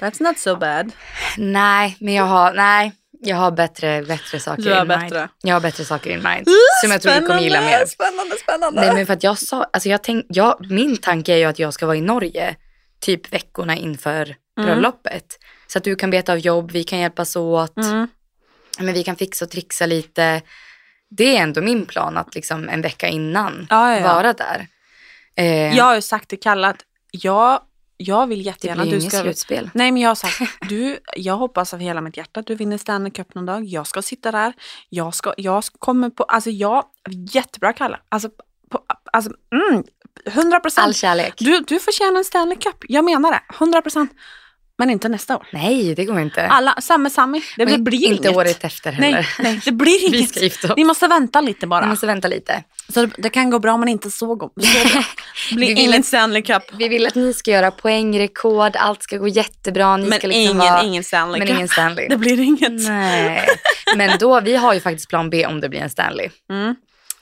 B: That's not so bad.
A: Nej, men jag har, nej, jag har bättre, bättre saker
B: Du har
A: in mind.
B: bättre. Uh,
A: Jag har bättre saker in mind. som jag tror du kommer gilla mer.
B: Spännande, spännande.
A: Nej men för att jag sa, alltså jag tänk, jag, min tanke är ju att jag ska vara i Norge typ veckorna
B: Mm.
A: inför bröllopet. Så att du kan beta av jobb, vi kan hjälpas åt,
B: Mm.
A: men vi kan fixa och trixa lite. Det är ändå min plan att liksom en vecka innan
B: Ja, ja, ja.
A: vara där. Eh,
B: Jag har ju sagt till Kalle att jag, jag vill
A: det
B: jättegärna
A: blir
B: att
A: ju
B: du
A: inget
B: ska...
A: slutspel.
B: Nej men jag
A: [LAUGHS]
B: har sagt, du, jag hoppas av hela mitt hjärta att du vinner Stanley Cup någon dag. Jag ska sitta där. Jag ska, jag ska- kommer på, alltså jag, jättebra Kalle. Alltså, på, alltså mm, 100
A: All
B: procent.
A: kärlek.
B: Du, du förtjänar en Stanley Cup. Jag menar det, 100 procent. Men inte nästa år.
A: Nej, det går inte.
B: Alla, samma Sammy, det
A: Men
B: blir
A: inte
B: inget.
A: året efter heller.
B: Nej, nej, det blir
A: Vi
B: inget.
A: ska Mm. gifta oss.
B: Ni måste vänta lite bara.
A: Vi måste vänta lite.
B: Så det, det kan gå bra men inte så, gå, så
A: [LAUGHS]
B: bra. Det
A: Vi
B: blir
A: vill
B: ingen
A: att-
B: Stanley Cup.
A: Vi vill att ni ska göra poängrekord, allt ska gå jättebra. Ni
B: Men
A: ska liksom
B: ingen,
A: vara,
B: ingen Stanley
A: men
B: Cup.
A: ingen Stanley.
B: Det blir [LAUGHS] inget.
A: Nej, men då, vi har ju faktiskt plan B om det blir en Stanley.
B: Mm.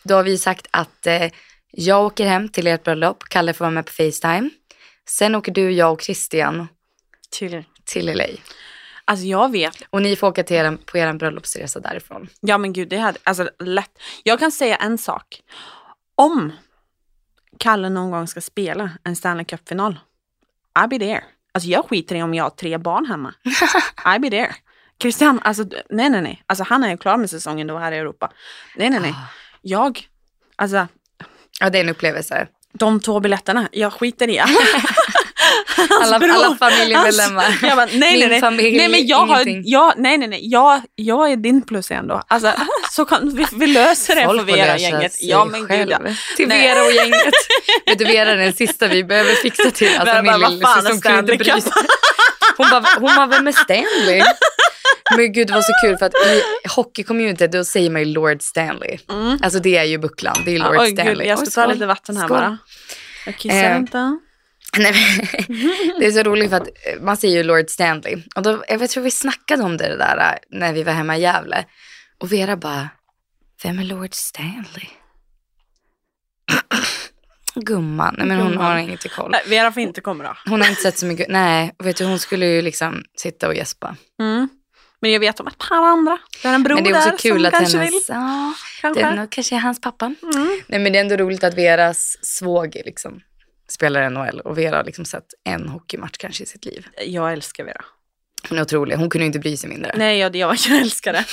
A: Då har vi sagt att eh, jag åker hem till ert bröllop, Kalle får vara med på Facetime. Sen åker du, jag och Christian
B: Till.
A: till LA.
B: Alltså jag vet.
A: Och ni får åka till er, på er bröllopsresa därifrån.
B: Ja men gud, det hade, alltså lätt. Jag kan säga en sak. Om Kalle någon gång ska spela en Stanley Cup-final, I'll be there. Alltså jag skiter i om jag har tre barn hemma. I be there. Christian, alltså d- nej nej nej. Alltså han är ju klar med säsongen då här i Europa. Nej nej nej. Jag, alltså
A: Ja, det är en upplevelse.
B: de två biljetterna, jag
A: [LAUGHS]
B: skiter i. Hans
A: Alla,
B: bror,
A: alla familjemedlemmar.
B: Alltså, jag bara, nej,
A: Min
B: nej, nej.
A: familj,
B: nej, men jag har,
A: ingenting.
B: jag, nej, nej, nej. Jag, jag är din plus ändå. Alltså, så kan, vi, vi [LAUGHS] löser det
A: Folk
B: för
A: får
B: Vera
A: lösa
B: gänget.
A: sig
B: Ja, men gud. ja.
A: själv. Till
B: Nej.
A: Vera och gänget. [LAUGHS] Vet du Vera är den sista vi behöver fixa till. Alltså
B: Vera
A: min
B: bara, vad fan
A: lillasyster
B: är
A: hon kunde inte bry
B: Stanley
A: sig. Hon bara, hon bara, vem är Stanley? Men gud det var så kul för att i hockeycommunityt då säger man ju Lord Stanley.
B: Mm.
A: Alltså det är ju bucklan, det är ju Lord
B: Oj,
A: Stanley.
B: gud, jag
A: Oj,
B: ska ta
A: skål.
B: lite vatten här
A: Skål.
B: bara. Jag kissar
A: Eh,
B: inte.
A: Nej, men, [LAUGHS] det är så roligt för att eh, man säger ju Lord Stanley. Och då, jag vet, tror vi snackade om det där eh, när vi var hemma i Gävle. Och Vera bara, vem är Lord Stanley? [CLEARS THROAT] Gumman. Nej, men hon
B: Gumman.
A: har inte koll.
B: Nej, Vera får inte komma då.
A: Hon har inte sett så mycket. Nej, och vet du, hon skulle ju liksom sitta och gäspa.
B: Mm. Men jag vet om ett par andra. Vi har en bror
A: Men det är
B: där
A: också kul
B: som
A: att
B: kanske
A: hennes...
B: vill.
A: Ja, det
B: Kanske.
A: är nog, kanske är hans pappa.
B: Mm.
A: Nej, men det är ändå roligt att Veras svåger liksom spelar NHL och Vera har liksom sett en hockeymatch kanske i sitt liv.
B: Jag älskar Vera.
A: Hon är otrolig, hon kunde ju inte bry sig mindre.
B: Nej, jag, jag, jag älskar det.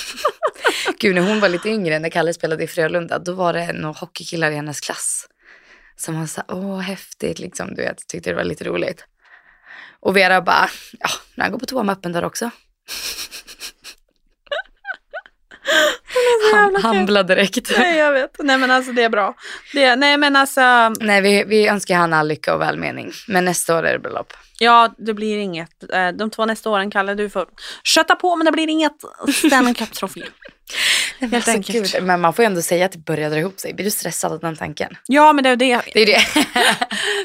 A: Gud, när hon var lite yngre, när Kalle spelade i Frölunda, då var det några hockeykillar i hennes klass som var så här, åh häftigt, liksom, du vet, tyckte det var lite roligt. Och Vera bara, ja, när han går på toa med öppen dörr också.
B: [LAUGHS] så
A: Han
B: jävla kul.
A: hamblade direkt.
B: [LAUGHS] Nej, jag vet. Nej, men alltså det är bra. Det, nej, men alltså.
A: Nej, vi, vi önskar han all lycka och välmening. Men nästa år är det bröllop.
B: Ja, det blir inget. Eh, De två nästa åren, Kalle, du får köta på men det blir inget Stanley Cup-trofé. Helt
A: Så
B: enkelt.
A: kul. Alltså, Men man får ju ändå säga att det börjar dra ihop sig. Blir du stressad av den tanken?
B: [LAUGHS] Ja, men det är det.
A: Det är det.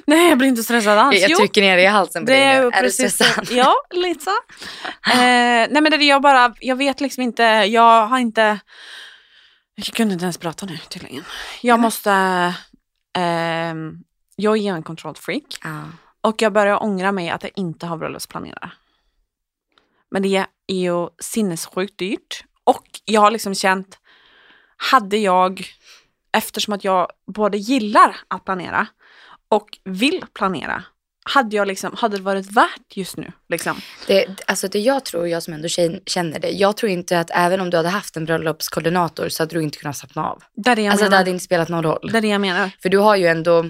B: Nej, jag blir inte stressad alls.
A: Jag
B: Alltså, Jo,
A: trycker ner det i halsen på
B: det
A: dig
B: är,
A: nu.
B: ju
A: Är du
B: precis
A: stressad?
B: det. Ja, [LAUGHS] lite så. Eh, nej, men det är det jag bara, jag vet liksom inte, jag har inte, jag kunde inte ens prata nu tydligen. Jag måste, ehm, jag är en kontrollfreak.
A: Ja.
B: Och jag börjar ångra mig att jag inte har bröllopsplanerare. Men det är ju sinnessjukt dyrt. Och jag har liksom känt, hade jag, eftersom att jag både gillar att planera och vill planera, hade, jag liksom, hade det varit värt just nu? Liksom.
A: Det, alltså det jag tror, jag som ändå tjej- känner det, jag tror inte att även om du hade haft en bröllopskoordinator så hade du inte kunnat slappna av.
B: Där är det jag
A: alltså det
B: menar.
A: hade inte spelat någon roll.
B: Det är det jag menar.
A: För du har ju ändå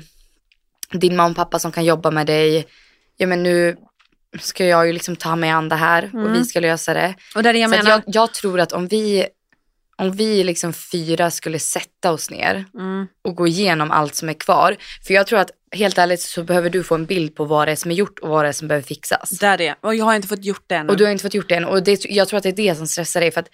A: din mamma och pappa som kan jobba med dig. Ja men nu ska jag ju liksom ta mig an det här
B: Mm.
A: och vi ska lösa det.
B: Och det är det jag
A: så att
B: menar.
A: jag, jag tror att om vi, om vi liksom fyra skulle sätta oss ner
B: Mm.
A: och gå igenom allt som är kvar. För jag tror att helt ärligt så behöver du få en bild på vad det är som är gjort och vad det är som behöver fixas.
B: Där är det. Och jag har inte fått gjort det ännu.
A: Och du har inte fått gjort det än. Och det, jag tror att det är det som stressar dig. För att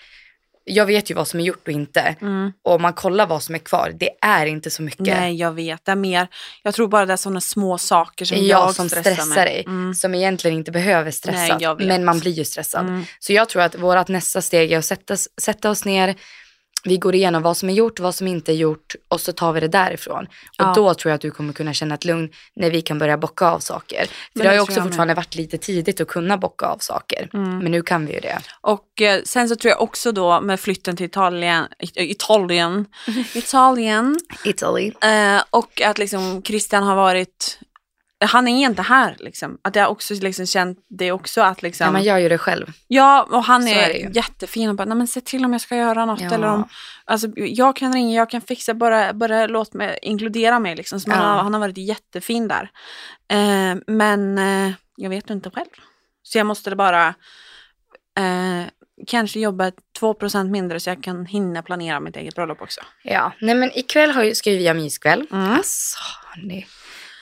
A: jag vet ju vad som är gjort och inte.
B: Mm.
A: Och om man kollar vad som är kvar, det är inte så mycket.
B: Nej, jag vet. Det är mer, jag tror bara det är sådana små saker som
A: jag,
B: jag
A: som
B: stressar,
A: stressar,
B: mig.
A: dig.
B: Mm.
A: Som egentligen inte behöver stressas.
B: Nej, jag vet.
A: men man blir ju stressad.
B: Mm.
A: Så jag tror att vårt nästa steg är att sätta, sätta oss ner. Vi går igenom vad som är gjort, vad som inte är gjort och så tar vi det därifrån. Och
B: Ja.
A: då tror jag att du kommer kunna känna ett lugn när vi kan börja bocka av saker. För
B: det
A: det har ju
B: tror
A: också
B: jag med.
A: fortfarande varit lite tidigt att kunna bocka av saker.
B: Mm.
A: Men nu kan vi ju det.
B: Och eh, sen så tror jag också då med flytten till Italien, It- eh, Italien, Italien
A: Italy.
B: eh, och att liksom Christian har varit, han är inte här liksom. Att jag också liksom känt det också att
A: Ja,
B: liksom,
A: man
B: ja,
A: gör ju det själv.
B: och han
A: Så
B: är,
A: är det ju.
B: jättefin och bara, nej men se till om jag ska göra något
A: Ja.
B: eller om, alltså jag kan ringa, jag kan fixa, bara, bara låt mig, inkludera mig liksom. Så han,
A: Ja.
B: har, han har varit jättefin där. Eh, men eh, jag vet inte själv. Så jag måste bara eh, kanske jobba 2 mindre så jag kan hinna planera mitt eget bröllop också.
A: Ja, nej men ikväll har ju, ska ju vi ha myskväll.
B: Mm.
A: Alltså, hörni.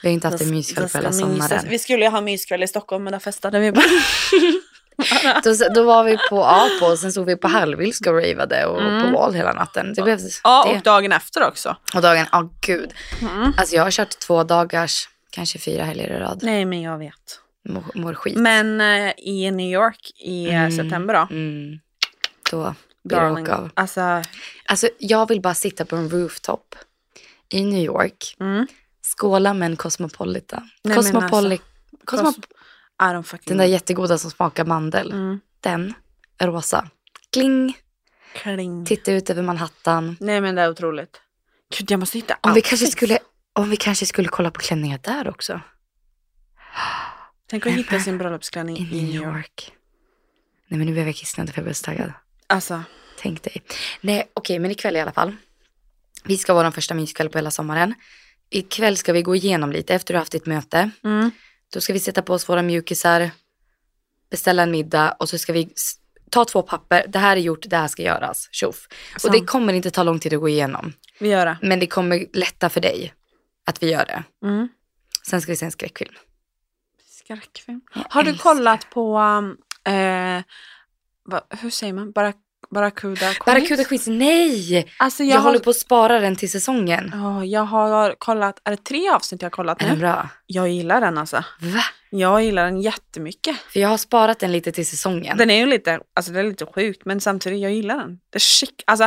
A: Vi har inte haft en myskväll på hela sommaren.
B: Vi skulle ju ha myskväll i Stockholm men där festade
A: [LAUGHS]
B: vi bara.
A: Då, då var vi på Apo och sen såg vi på Hallwylska och raveade och
B: Mm.
A: på Wall hela natten. Det behövdes
B: ja, och
A: det.
B: dagen efter också.
A: Och dagen, ja gud.
B: Mm.
A: Alltså jag har kört två dagars, kanske fyra helger i rad.
B: Nej men jag vet.
A: Mår, mår skit.
B: Men eh, i New York i eh,
A: Mm.
B: september då.
A: Mm. Då blir det
B: Darling.
A: åka av.
B: Alltså,
A: Alltså jag vill bara sitta på en rooftop i New York.
B: mm.
A: Skåla med en Cosmopolitan.
B: men alltså,
A: Cosmopoli- Cosmop-
B: Cos- I don't fucking
A: Den där jättegoda som smakar mandel.
B: mm.
A: Den är rosa. Kling!
B: Kling.
A: Titta ut över Manhattan.
B: Nej men det är otroligt. Gud jag måste hitta
A: Om vi,
B: outfits.
A: kanske skulle, om vi kanske skulle kolla på klänningar där också.
B: Tänk att hitta sin bröllopsklänning
A: I New York. Nej men nu blev jag kissnödig för jag blev så taggad.
B: Alltså,
A: Tänk dig. Nej okej men ikväll i alla fall. Vi ska ha vår första myskväll på hela sommaren. Ikväll ska vi gå igenom lite efter du har haft ditt möte.
B: mm.
A: Då ska vi sätta på oss våra mjukisar, beställa en middag och så ska vi s- ta två papper. Det här är gjort, det här ska göras. Tjoff. Och
B: Sant.
A: det kommer inte ta lång tid att gå igenom.
B: vi gör det.
A: Men det kommer lätta för dig att vi gör det.
B: Mm.
A: Sen ska vi se en skräckfilm.
B: Skräckfilm. Har du
A: älskar-
B: kollat på, um, eh, va, hur säger man, Barak- Barracuda Queens?
A: Barracuda Quiz, nej!
B: Alltså
A: Jag,
B: jag,
A: håller
B: håller
A: på att spara den till säsongen.
B: jag har kollat, är det tre avsnitt jag har kollat
A: Är den
B: nu?
A: bra?
B: Jag gillar den alltså.
A: Va?
B: Jag gillar den jättemycket.
A: För jag har sparat den lite till säsongen.
B: Den är ju lite, alltså det är lite sjukt men samtidigt jag gillar den. Det är chic. Alltså,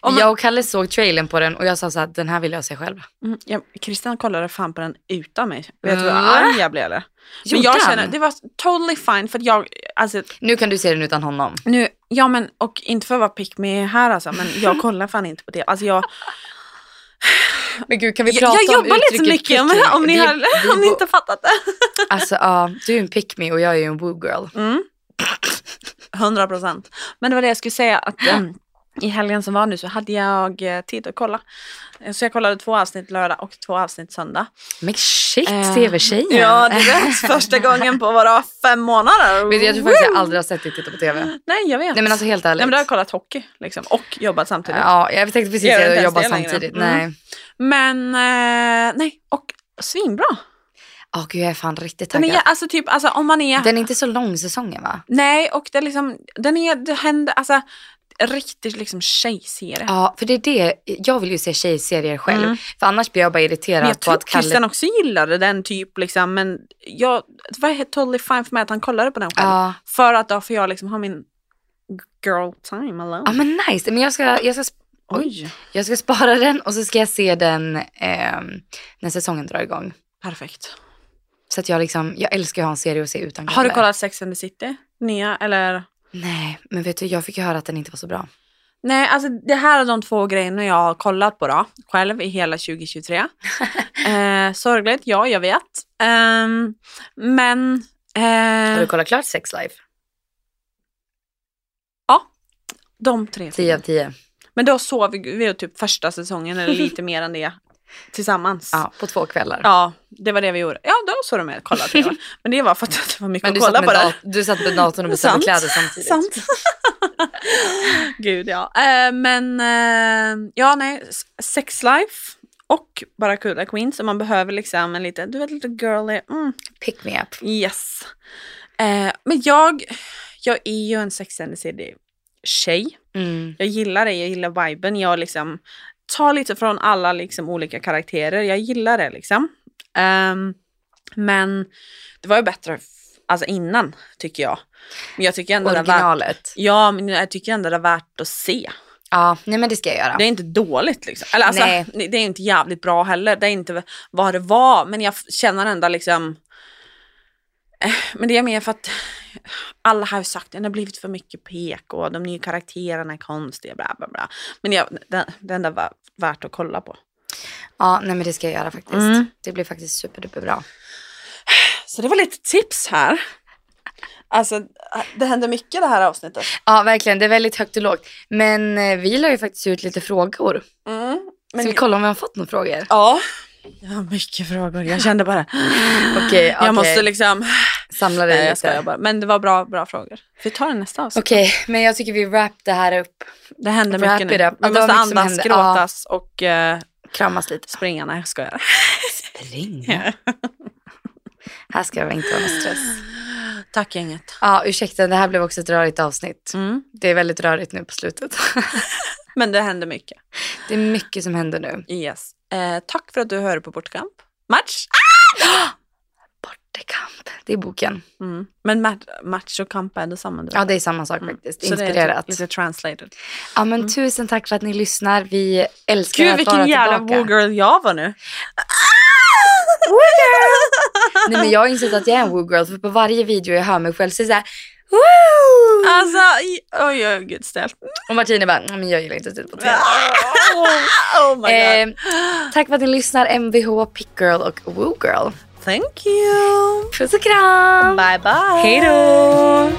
B: om man,
A: Jag och Kalle såg trailern på den och jag sa så här, den här vill jag se själv.
B: mm, jag, Christian kollade fan på den utan mig. Vet du vad
A: Va?
B: arg jag blev eller? Men jag
A: Gjorde han?
B: känner, det var totally fine för att jag, alltså
A: Nu kan du se den utan honom.
B: nu, ja men och inte för att vara pick me här alltså men jag kollar fan inte på det. Alltså jag,
A: Men gud, kan vi
B: jag,
A: prata
B: jag
A: om
B: jobbar lite
A: uttrycket
B: mycket om,
A: pick me?
B: om, ni,
A: Vi-
B: har,
A: vi
B: [LAUGHS] om ni
A: bo-
B: inte har fattat det.
A: Alltså ja, du är en pick me och jag är ju en woo girl.
B: Mm. 100 procent. Men det var det jag skulle säga att em, i helgen som var nu så hade jag eh, tid att kolla. Eh, Så jag kollade två avsnitt lördag och två avsnitt söndag.
A: Men shit,
B: Eh,
A: tv-tjejen.
B: Ja, det är första gången på våra fem månader.
A: Vet du, jag tror faktiskt jag aldrig har sett dig titta på tv. Nej
B: Nej, jag vet.
A: men alltså helt ärligt.
B: Nej, men då har jag kollat hockey liksom, och jobbat samtidigt.
A: Ja, jag tänkte precis
B: Jag gör
A: att
B: inte
A: jag jobbar
B: ens det längre.
A: samtidigt.
B: Mm.
A: Nej.
B: Men eh, nej, och svinbra.
A: Åh gud, jag är fan riktigt
B: Den
A: taggad.
B: är, alltså, typ, alltså, om man är...
A: Den är inte så lång säsongen va?
B: Nej, och det, är liksom, den är, det händer, alltså riktigt liksom tjejserie.
A: Ja, för det är det. Jag vill ju se tjejserier själv.
B: Mm.
A: För annars blir jag bara
B: Men
A: irriterad
B: jag
A: på
B: tror
A: att Kalle...
B: Christian också gillade den typ liksom men jag, det var helt totally fine för mig att han kollade på den själv.
A: Ja.
B: För att då får jag liksom ha min girl time alone.
A: ja, men nice. Men jag ska, jag, ska, sp-
B: Oj,
A: jag ska spara den och så ska jag se den ehm, när säsongen drar igång.
B: perfekt.
A: Så att jag liksom, jag älskar ju att ha en serie att se utan
B: Har du
A: Kalle.
B: kollat Sex and the City? Nya eller?
A: Nej, men vet du, jag fick ju höra att den inte var så bra.
B: Nej, alltså det här är de två grejerna jag har kollat på då, själv i
A: [LAUGHS]
B: hela 2023. eh, sorgligt, ja jag vet. Ehm, men...
A: Har
B: Eh,
A: du kollat klart Sex Life?
B: de tre.
A: 10 av 10.
B: Men då såg vi, vi typ första säsongen eller lite mer
A: [LAUGHS]
B: än det tillsammans.
A: Ja, på två kvällar.
B: Ja, det var det vi gjorde. Ja, då såg de med kolla
A: [LAUGHS]
B: TV. Men det var för att det var mycket
A: Men du
B: att
A: satt,
B: kolla
A: med
B: på
A: dat-
B: där.
A: du satt med datorn och beställde
B: Sant.
A: kläder samtidigt. [LAUGHS]
B: Sant. Gud ja. Eh, men eh, ja, nej. s- Sex Life och Barracuda Queens. Om man behöver liksom en liten, du vet lite girly. Mm,
A: Pick me up.
B: yes. Eh, men jag, jag är ju en Sex and the City tjej.
A: Mm.
B: Jag gillar det, jag gillar viben. Jag liksom tar lite från alla liksom olika karaktärer. Jag gillar det liksom. Ehm, men det var ju bättre f- alltså innan tycker jag. Men jag tycker ändå det är värt,
A: Originalet.
B: ja, men jag tycker ändå det är värt att se.
A: Ja, nej men det ska jag göra.
B: Det är inte dåligt liksom. Eller alltså,
A: Nej.
B: det det är inte jävligt bra heller. Det är inte vad det var, men jag f- känner ändå liksom Eh, men det är mer för att alla har ju sagt att det har blivit för mycket PK och de nya karaktärerna är konstiga. Bla bla bla. Men jag, den, den där var värt att kolla på.
A: Ja, nej men det ska jag göra faktiskt.
B: Mm.
A: Det blir faktiskt superduperbra.
B: Så det var lite tips här. Alltså det händer mycket det här avsnittet.
A: Ja, verkligen. Det är väldigt högt och lågt. Men eh, vi la ju faktiskt ut lite frågor.
B: Mm, men,
A: Ska vi kolla om vi har fått några frågor?
B: ja. Jag har mycket frågor. Jag kände bara.
A: Okej, [LAUGHS] okej.
B: Jag måste liksom.
A: samla dig
B: Nej, jag
A: lite.
B: skojar bara. Men det var bra, bra frågor. Vi tar den nästa avsnitt.
A: Okej, men jag tycker vi wrap det här upp.
B: Det händer
A: Wrap
B: mycket
A: it
B: nu.
A: up. Ja,
B: Man
A: det var
B: måste
A: mycket som
B: andas,
A: hände.
B: gråtas och eh,
A: Kramas lite.
B: springa. Nej, jag skojar.
A: Spring. [LAUGHS] Här ska det inte vara någon stress.
B: Tack gänget.
A: Ja, ursäkta, det här blev också ett rörigt avsnitt.
B: Mm.
A: Det är väldigt rörigt nu på slutet. [LAUGHS]
B: Men det händer mycket.
A: Det är mycket som händer nu.
B: Yes. Eh, tack för att du hör på Bortkamp. Match!
A: Bortekamp, det är boken.
B: Mm. Men ma- match och kamp är detsamma. Du.
A: Ja, det är samma sak faktiskt.
B: Mm. Så det är typ
A: Inspirerat.
B: lite translated.
A: Ja, men tusen tack för att ni lyssnar. Vi älskar
B: Gud
A: att
B: vilken
A: vara
B: jävla
A: tillbaka.
B: woo-girl jag var nu.
A: Nej, men jag har insett att jag är en woo-girl för på varje video jag hör mig själv så är det så här, woo!
B: [LAUGHS] Alltså, i- oj oj, gud [LAUGHS] snällt.
A: Och Martina bara, "Mm, men jag gillar inte att titta på Ehm, TV.
B: oh my god.
A: Eh, tack för att ni lyssnar, MVH, Pick Girl och Woo Girl.
B: Thank you!
A: Puss och kram!
B: Bye bye!
A: Hej då!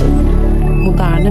C: Moderne